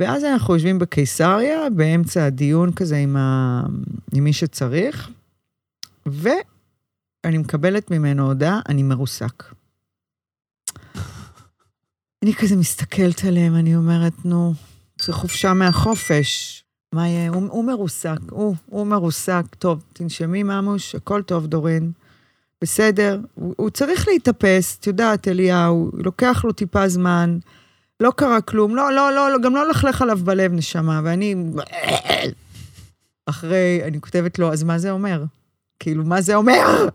A: ואז אנחנו יושבים בקיסריה, באמצע הדיון כזה עם, ה... עם מי שצריך, ואני מקבלת ממנו הודעה, אני מרוסק. אני כזה מסתכלת עליהם, אני אומרת, נו, זה חופשה מהחופש. מה יהיה? הוא, הוא מרוסק, הוא, הוא מרוסק. טוב, תנשמי, ממוש, הכל טוב, דורין. בסדר, הוא, הוא צריך להתאפס, את יודעת, אליהו, לוקח לו טיפה זמן, לא קרה כלום, לא, לא, לא, לא גם לא לכלך עליו בלב, נשמה, ואני... אחרי, אני כותבת לו, אז מה זה אומר? כאילו, מה זה אומר?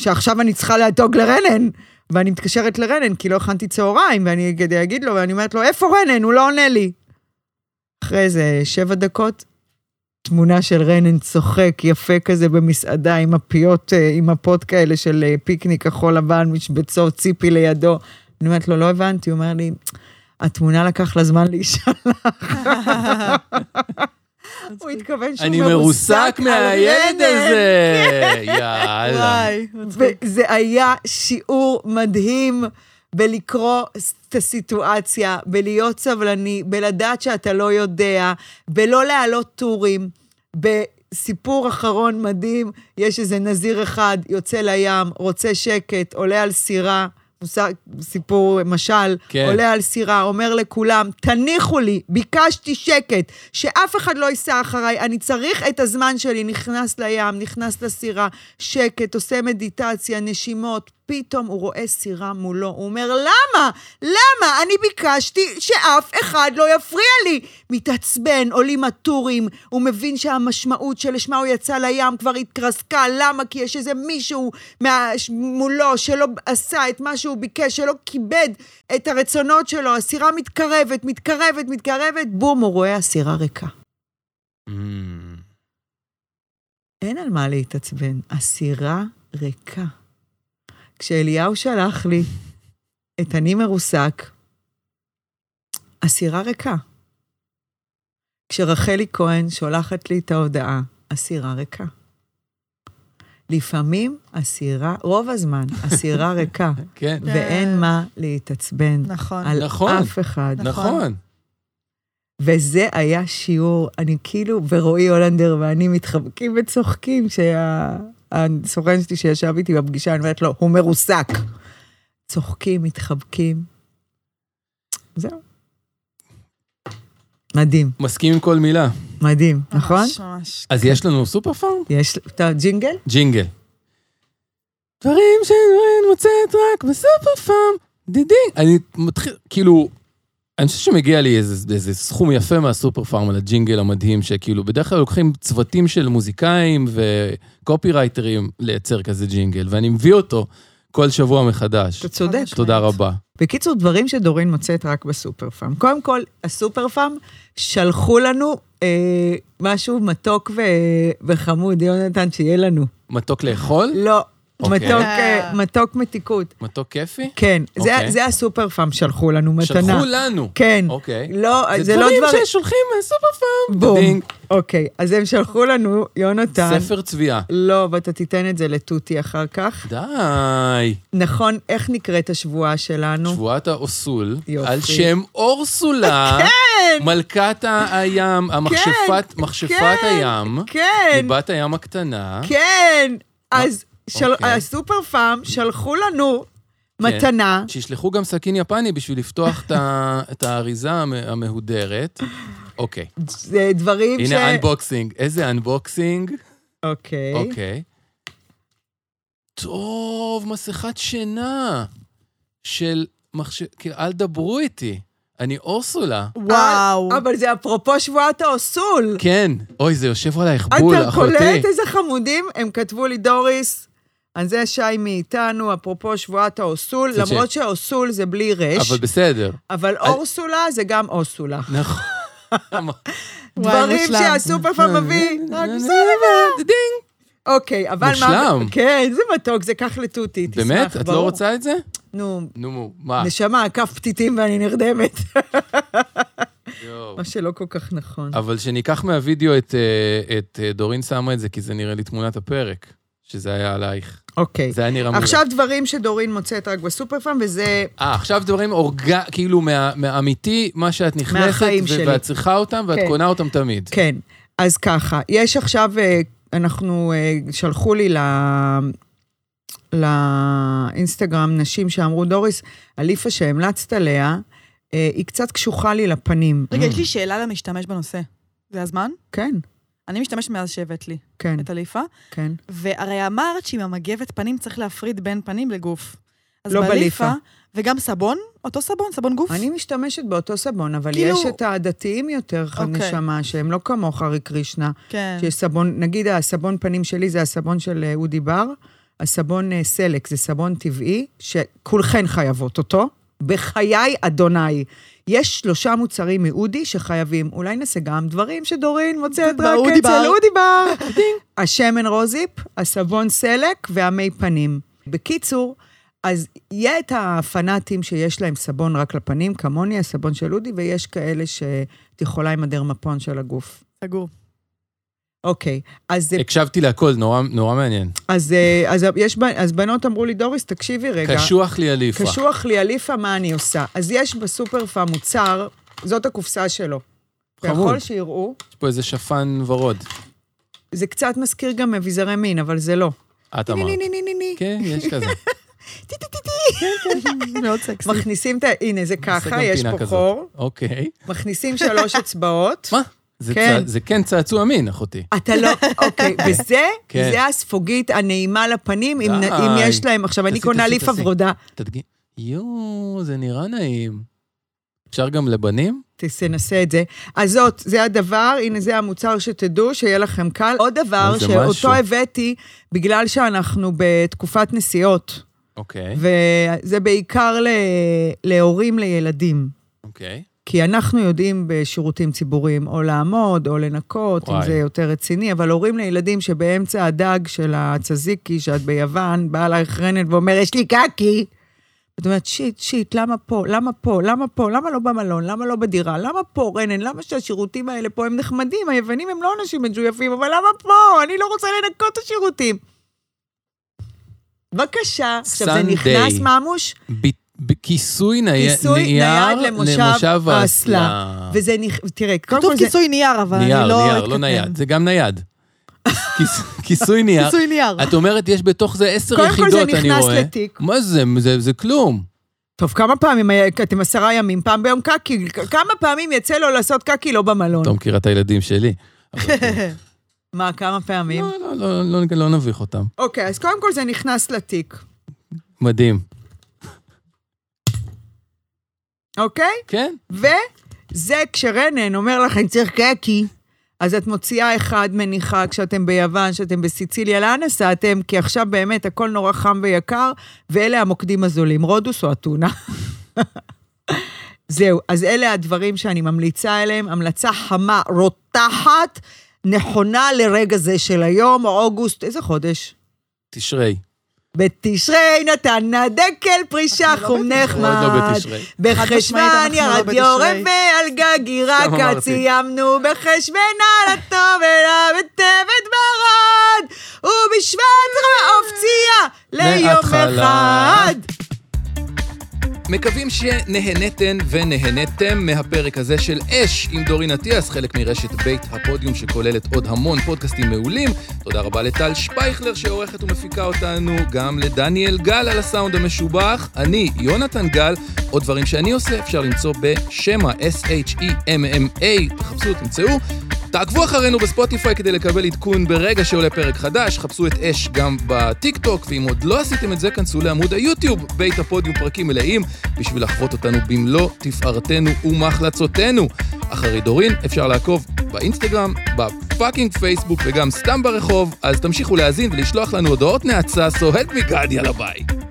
A: שעכשיו אני צריכה לדאוג לרנן. ואני מתקשרת לרנן, כי לא הכנתי צהריים, ואני אגיד- אגיד לו, ואני אומרת לו, איפה רנן? הוא לא עונה לי. אחרי איזה שבע דקות, תמונה של רנן צוחק יפה כזה במסעדה עם הפיות, אה, עם מפות כאלה של אה, פיקניק כחול לבן, משבצות, ציפי לידו. אני אומרת לו, לא הבנתי, הוא אומר לי, התמונה לקח לה זמן להישלח. הוא התכוון שהוא
C: אני מרוסק
A: על כן.
C: מהילד
A: רנן.
C: הזה. יאללה.
D: וואי, מצחיק.
A: וזה היה שיעור מדהים בלקרוא את הסיטואציה, בלהיות סבלני, בלדעת שאתה לא יודע, בלא להעלות טורים. בסיפור אחרון מדהים, יש איזה נזיר אחד, יוצא לים, רוצה שקט, עולה על סירה, מושג- סיפור, משל,
C: כן.
A: כן. עולה על סירה, אומר לכולם, תניחו לי, ביקשתי שקט, שאף אחד לא ייסע אחריי, אני צריך את הזמן שלי, נכנס לים, נכנס לסירה, שקט, עושה מדיטציה, נשימות, פתאום הוא רואה סירה מולו, הוא אומר, למה? למה? אני ביקשתי שאף אחד לא יפריע לי. מתעצבן, עולים הטורים, הוא מבין שהמשמעות שלשמה הוא יצא לים כבר התרסקה, למה? כי יש איזה מישהו מה... ש- מולו שלא עשה את מה שהוא ביקש, שלא כיבד את הרצונות שלו, הסירה מתקרבת, מתקרבת, מתקרבת, בום, הוא רואה הסירה ריקה.
C: Mm.
A: אין על מה להתעצבן, הסירה ריקה. כשאליהו שלח לי את אני מרוסק, הסירה ריקה. כשרחלי כהן שולחת לי את ההודעה, הסירה ריקה. לפעמים הסירה, רוב הזמן, הסירה ריקה,
C: כן,
A: ואין מה להתעצבן
D: נכון.
A: על
C: נכון.
A: אף אחד.
C: נכון.
A: וזה היה שיעור, אני כאילו, ורועי הולנדר ואני מתחבקים וצוחקים, כשהסוכן שלי שישב איתי בפגישה, אני אומרת לו, הוא מרוסק. צוחקים, מתחבקים. זהו. מדהים,
C: מסכים עם כל מילה.
A: מדהים,
D: ממש,
A: נכון?
D: ממש.
C: אז יש לנו סופר פארם?
A: יש את הג'ינגל?
C: ג'ינגל. דברים שאני מוצאת רק בסופר פארם, דידינג. אני מתחיל, כאילו, אני חושב שמגיע לי איזה, איזה סכום יפה מהסופר פארם על הג'ינגל המדהים, שכאילו, בדרך כלל לוקחים צוותים של מוזיקאים וקופירייטרים לייצר כזה ג'ינגל, ואני מביא אותו כל שבוע מחדש.
A: אתה צודק.
D: חד
C: תודה
D: משמעית.
C: רבה.
A: בקיצור, דברים שדורין מוצאת רק בסופר פארם. קודם כל, הסופר פארם שלחו לנו אה, משהו מתוק ו... וחמוד, יונתן, שיהיה לנו.
C: מתוק לאכול?
A: לא,
C: אוקיי.
A: מתוק, אה, מתוק מתיקות.
C: מתוק כיפי?
A: כן, זה,
C: אוקיי.
A: זה הסופר פארם שלחו לנו מתנה.
C: שלחו לנו.
A: כן.
C: אוקיי.
A: לא, זה,
C: זה
A: לא
C: דברים
A: דבר...
C: ששולחים מהסופר פארם.
A: בום.
C: דינג.
A: אוקיי, אז הם שלחו לנו, יונתן.
C: ספר צביעה.
A: לא, ואתה תיתן את זה לתותי אחר כך.
C: די.
A: נכון, איך נקראת השבועה שלנו?
C: שבועת האוסול,
A: יופי.
C: על שם אורסולה,
A: כן!
C: מלכת הים, המכשפת,
A: כן,
C: מכשפת הים,
A: כן,
C: ליבת הים הקטנה.
A: כן. אז של...
C: אוקיי. כן.
A: הסופר פארם שלחו לנו מתנה.
C: שישלחו גם סכין יפני בשביל לפתוח את ה- את האריזה המ- המהודרת. אוקיי,
A: זה דברים ש...
C: הנה אנבוקסינג. איזה אנבוקסינג.
A: אוקיי.
C: אוקיי. טוב, מסכת שינה של מחשב... כאילו, אל דברו איתי, אני אורסולה.
D: וואו.
A: אבל זה אפרופו שבועת האוסול.
C: כן. אוי, זה יושב עלייך בול, אחותי.
A: אתה קולט איזה חמודים? הם כתבו לי, דוריס, אז זה שי מאיתנו, אפרופו שבועת האוסול,
C: זה
A: למרות שהאוסול זה בלי רש,
C: אבל בסדר.
A: אבל אורסולה זה גם אוסולה.
C: נכון.
A: דברים
D: מושלם.
A: שהסופר פעם
C: אה,
A: מביא, רק בסדר.
C: דינג.
A: אוקיי, אבל מה...
C: מושלם.
A: כן, זה מתוק, זה קח לתותי, תשמח, ברור.
C: באמת? את לא רוצה אה. את זה?
A: נו,
C: נו, מו, מה?
A: נשמה, כף פתיתים ואני נרדמת.
C: יואו.
A: מה שלא כל כך נכון.
C: אבל שניקח מהווידאו את, אה, את אה, דורין שמה את זה, כי זה נראה לי תמונת הפרק, שזה היה עלייך.
A: אוקיי.
C: זה היה נראה מעולה.
A: עכשיו דברים שדורין מוצאת רק בסופר פארם, וזה
C: אה, עכשיו דברים אורג... כאילו מה- מהאמיתי, מה שאת נכנסת,
A: מהחיים
C: ו-
A: שלי.
C: ואת צריכה אותם, ואת
A: כן.
C: קונה אותם תמיד.
A: כן, אז ככה, יש עכשיו, אה, אנחנו, אה, שלחו לי ל... לאינסטגרם נשים שאמרו, דוריס, הליפה שהמלצת עליה, אה, היא קצת קשוחה לי לפנים.
D: רגע, יש לי
C: Mm.
D: שאלה למשתמש בנושא. זה הזמן?
A: כן,
D: אני משתמשת מאז שהבאת לי
A: כן,
D: את הליפה,
A: כן.
D: והרי אמרת שעם המגבת פנים צריך להפריד בין פנים לגוף. אז
A: לא
D: בליפה.
A: בליפה.
D: וגם סבון, אותו סבון, סבון גוף.
A: אני משתמשת באותו סבון, אבל
D: כאילו-
A: יש את הדתיים יותר,
D: אוקיי.
A: נשמה, שהם לא כמוך, הרי קרישנה,
D: כן.
A: שיש סבון, נגיד הסבון פנים שלי זה הסבון של אה, אודי בר, הסבון אה, סלק זה סבון טבעי, שכולכן חייבות אותו. בחיי אדוני. יש שלושה מוצרים מאודי שחייבים, אולי נעשה גם דברים שדורין מוצאת רק
D: באודי
A: אצל
D: בר.
A: אודי בר. השמן רוזיפ, הסבון סלק והמי פנים. בקיצור, אז יהיה את הפנאטים שיש להם סבון רק לפנים, כמוני, הסבון של אודי, ויש כאלה שאת יכולה עם הדרמפון של הגוף.
D: סגור.
A: אוקיי, אז זה
C: הקשבתי להכל, נורא, נורא מעניין.
A: אז, אה, אז, יש, בנ- אז בנות אמרו לי, דוריס, תקשיבי רגע.
C: קשוח לי אליפה.
A: קשוח לי אליפה, מה אני עושה? אז יש בסופר פארם מוצר, זאת הקופסה שלו.
C: חמוד.
A: ככל שיראו,
C: יש פה איזה שפן ורוד.
A: זה קצת מזכיר גם אביזרי מין, אבל זה לא.
C: את אמרת.
A: ני, ני, ני, ני, ני.
C: כן, יש כזה.
D: מאוד סקסי.
A: מכניסים את ה... הנה, זה
C: נעשה גם
A: ככה, יש
C: פינה
A: פה
C: כזאת.
A: חור.
C: אוקיי.
A: מכניסים שלוש אצבעות.
C: מה? זה
A: כן.
C: צע- זה כן צעצוע מין, אחותי.
A: אתה לא, אוקיי, וזה,
C: כן.
A: זה הספוגית הנעימה לפנים, אם נ-
C: די.
A: אם יש להם, עכשיו אני
C: תעשי,
A: קונה
C: תעשי,
A: ליף
C: תעשי.
A: הוורודה,
C: תדגים. יואו, זה נראה נעים. אפשר גם לבנים?
A: תנסה את זה. אז זאת, זה הדבר, הנה זה המוצר שתדעו, שיהיה לכם קל. עוד דבר
C: אוי, זה
A: שאותו
C: משהו.
A: הבאתי, בגלל שאנחנו בתקופת נסיעות,
C: אוקיי,
A: וזה בעיקר ל, להורים לילדים.
C: אוקיי.
A: כי אנחנו יודעים בשירותים ציבוריים או לעמוד או לנקות, אם
C: וואי.
A: זה יותר רציני, אבל הורים לילדים שבאמצע הדג של הצזיקי, שאת ביוון, באה אלייך רנט ואומר, יש לי קקי. את אומרת, שיט, שיט, למה פה? למה פה? למה פה? למה לא במלון? למה לא בדירה? למה פה, רנן? למה שהשירותים האלה פה הם נחמדים? היוונים הם לא אנשים מג'ויפים, אבל למה פה? אני לא רוצה לנקות את השירותים. בבקשה. עכשיו, זה
C: Sunday.
A: נכנס, ממוש?
C: ב- בכיסוי ני-
A: כיסוי נייד למושב האסלה.
C: האסלה.
A: וזה נכ... תראה, קודם
D: כתוב
A: כל זה...
D: כיסוי נייר, אבל אני
C: נייר,
D: לא...
C: נייר, לא
D: אתקטן.
C: נייד. זה גם נייד. כיס- כיסוי נייר.
D: כיסוי נייר.
C: את אומרת, יש בתוך זה עשר
A: קודם כל זה
C: יחידות, אני רואה.
A: נכנס לתיק.
C: מה זה? זה- זה כלום.
A: טוב, כמה פעמים, היה- אתם עשרה ימים, פעם ביום קקי, כמה פעמים יצא לו לעשות קקי לא במלון?
C: אתה מכירה את הילדים שלי.
A: מה, כמה פעמים?
C: לא, לא, לא, לא, לא נביך אותם.
A: אוקיי, אז קודם כל זה נכנס לתיק,
C: מדהים.
A: אוקיי?
C: כן?
A: וזה כשרנן אומר לך, אני צריך קקי, אז את מוציאה אחד מניחה כשאתם ביוון, כשאתם בסיציליה, לאן נסעתם? כי עכשיו באמת הכל נורא חם ויקר, ואלה המוקדים הזולים, רודוס או אתונה. זהו, אז אלה הדברים שאני ממליצה עליהם, המלצה חמה, רותחת, נכונה לרגע זה של היום, אוגוסט, איזה חודש?
C: תשרי.
A: בתשרי נתן הדקל פרישה
D: אנחנו לא
A: חום
C: אנחנו עוד
A: נחמד.
C: לא בתשרי.
D: משמעית,
A: בחשוון
D: אנחנו לא
A: ירד
D: בתשרי.
A: יורם ועל גג
C: סתם
A: עירקה
C: אמרתי.
A: ציימנו בחשוון על הטוב אליו בטבת ברד ובשבט רעוף צייה ליום
C: מההתחלה.
A: אחד.
C: מקווים שנהנתן ונהנתם מהפרק הזה של אש עם דורין אטיאס, חלק מרשת בית הפודיום שכוללת עוד המון פודקאסטים מעולים. תודה רבה לטל שפייכלר שעורכת ומפיקה אותנו, גם לדניאל גל על הסאונד המשובח, אני יונתן גל, עוד דברים שאני עושה אפשר למצוא בשמה E S-H-E-M-M-A, תחפשו, תמצאו. תעקבו אחרינו בספוטיפיי כדי לקבל עדכון ברגע שעולה פרק חדש, חפשו את אש גם בטיקטוק, ואם עוד לא עשיתם את זה, כנסו לעמוד היוטיוב, בית הפודיום פרקים מלאים, בשביל לחוות אותנו במלוא תפארתנו ומחלצותינו. אחרי דורין אפשר לעקוב באינסטגרם, בפאקינג פייסבוק וגם סתם ברחוב, אז תמשיכו להאזין ולשלוח לנו הודעות נאצה, so help me God, יאללה ביי.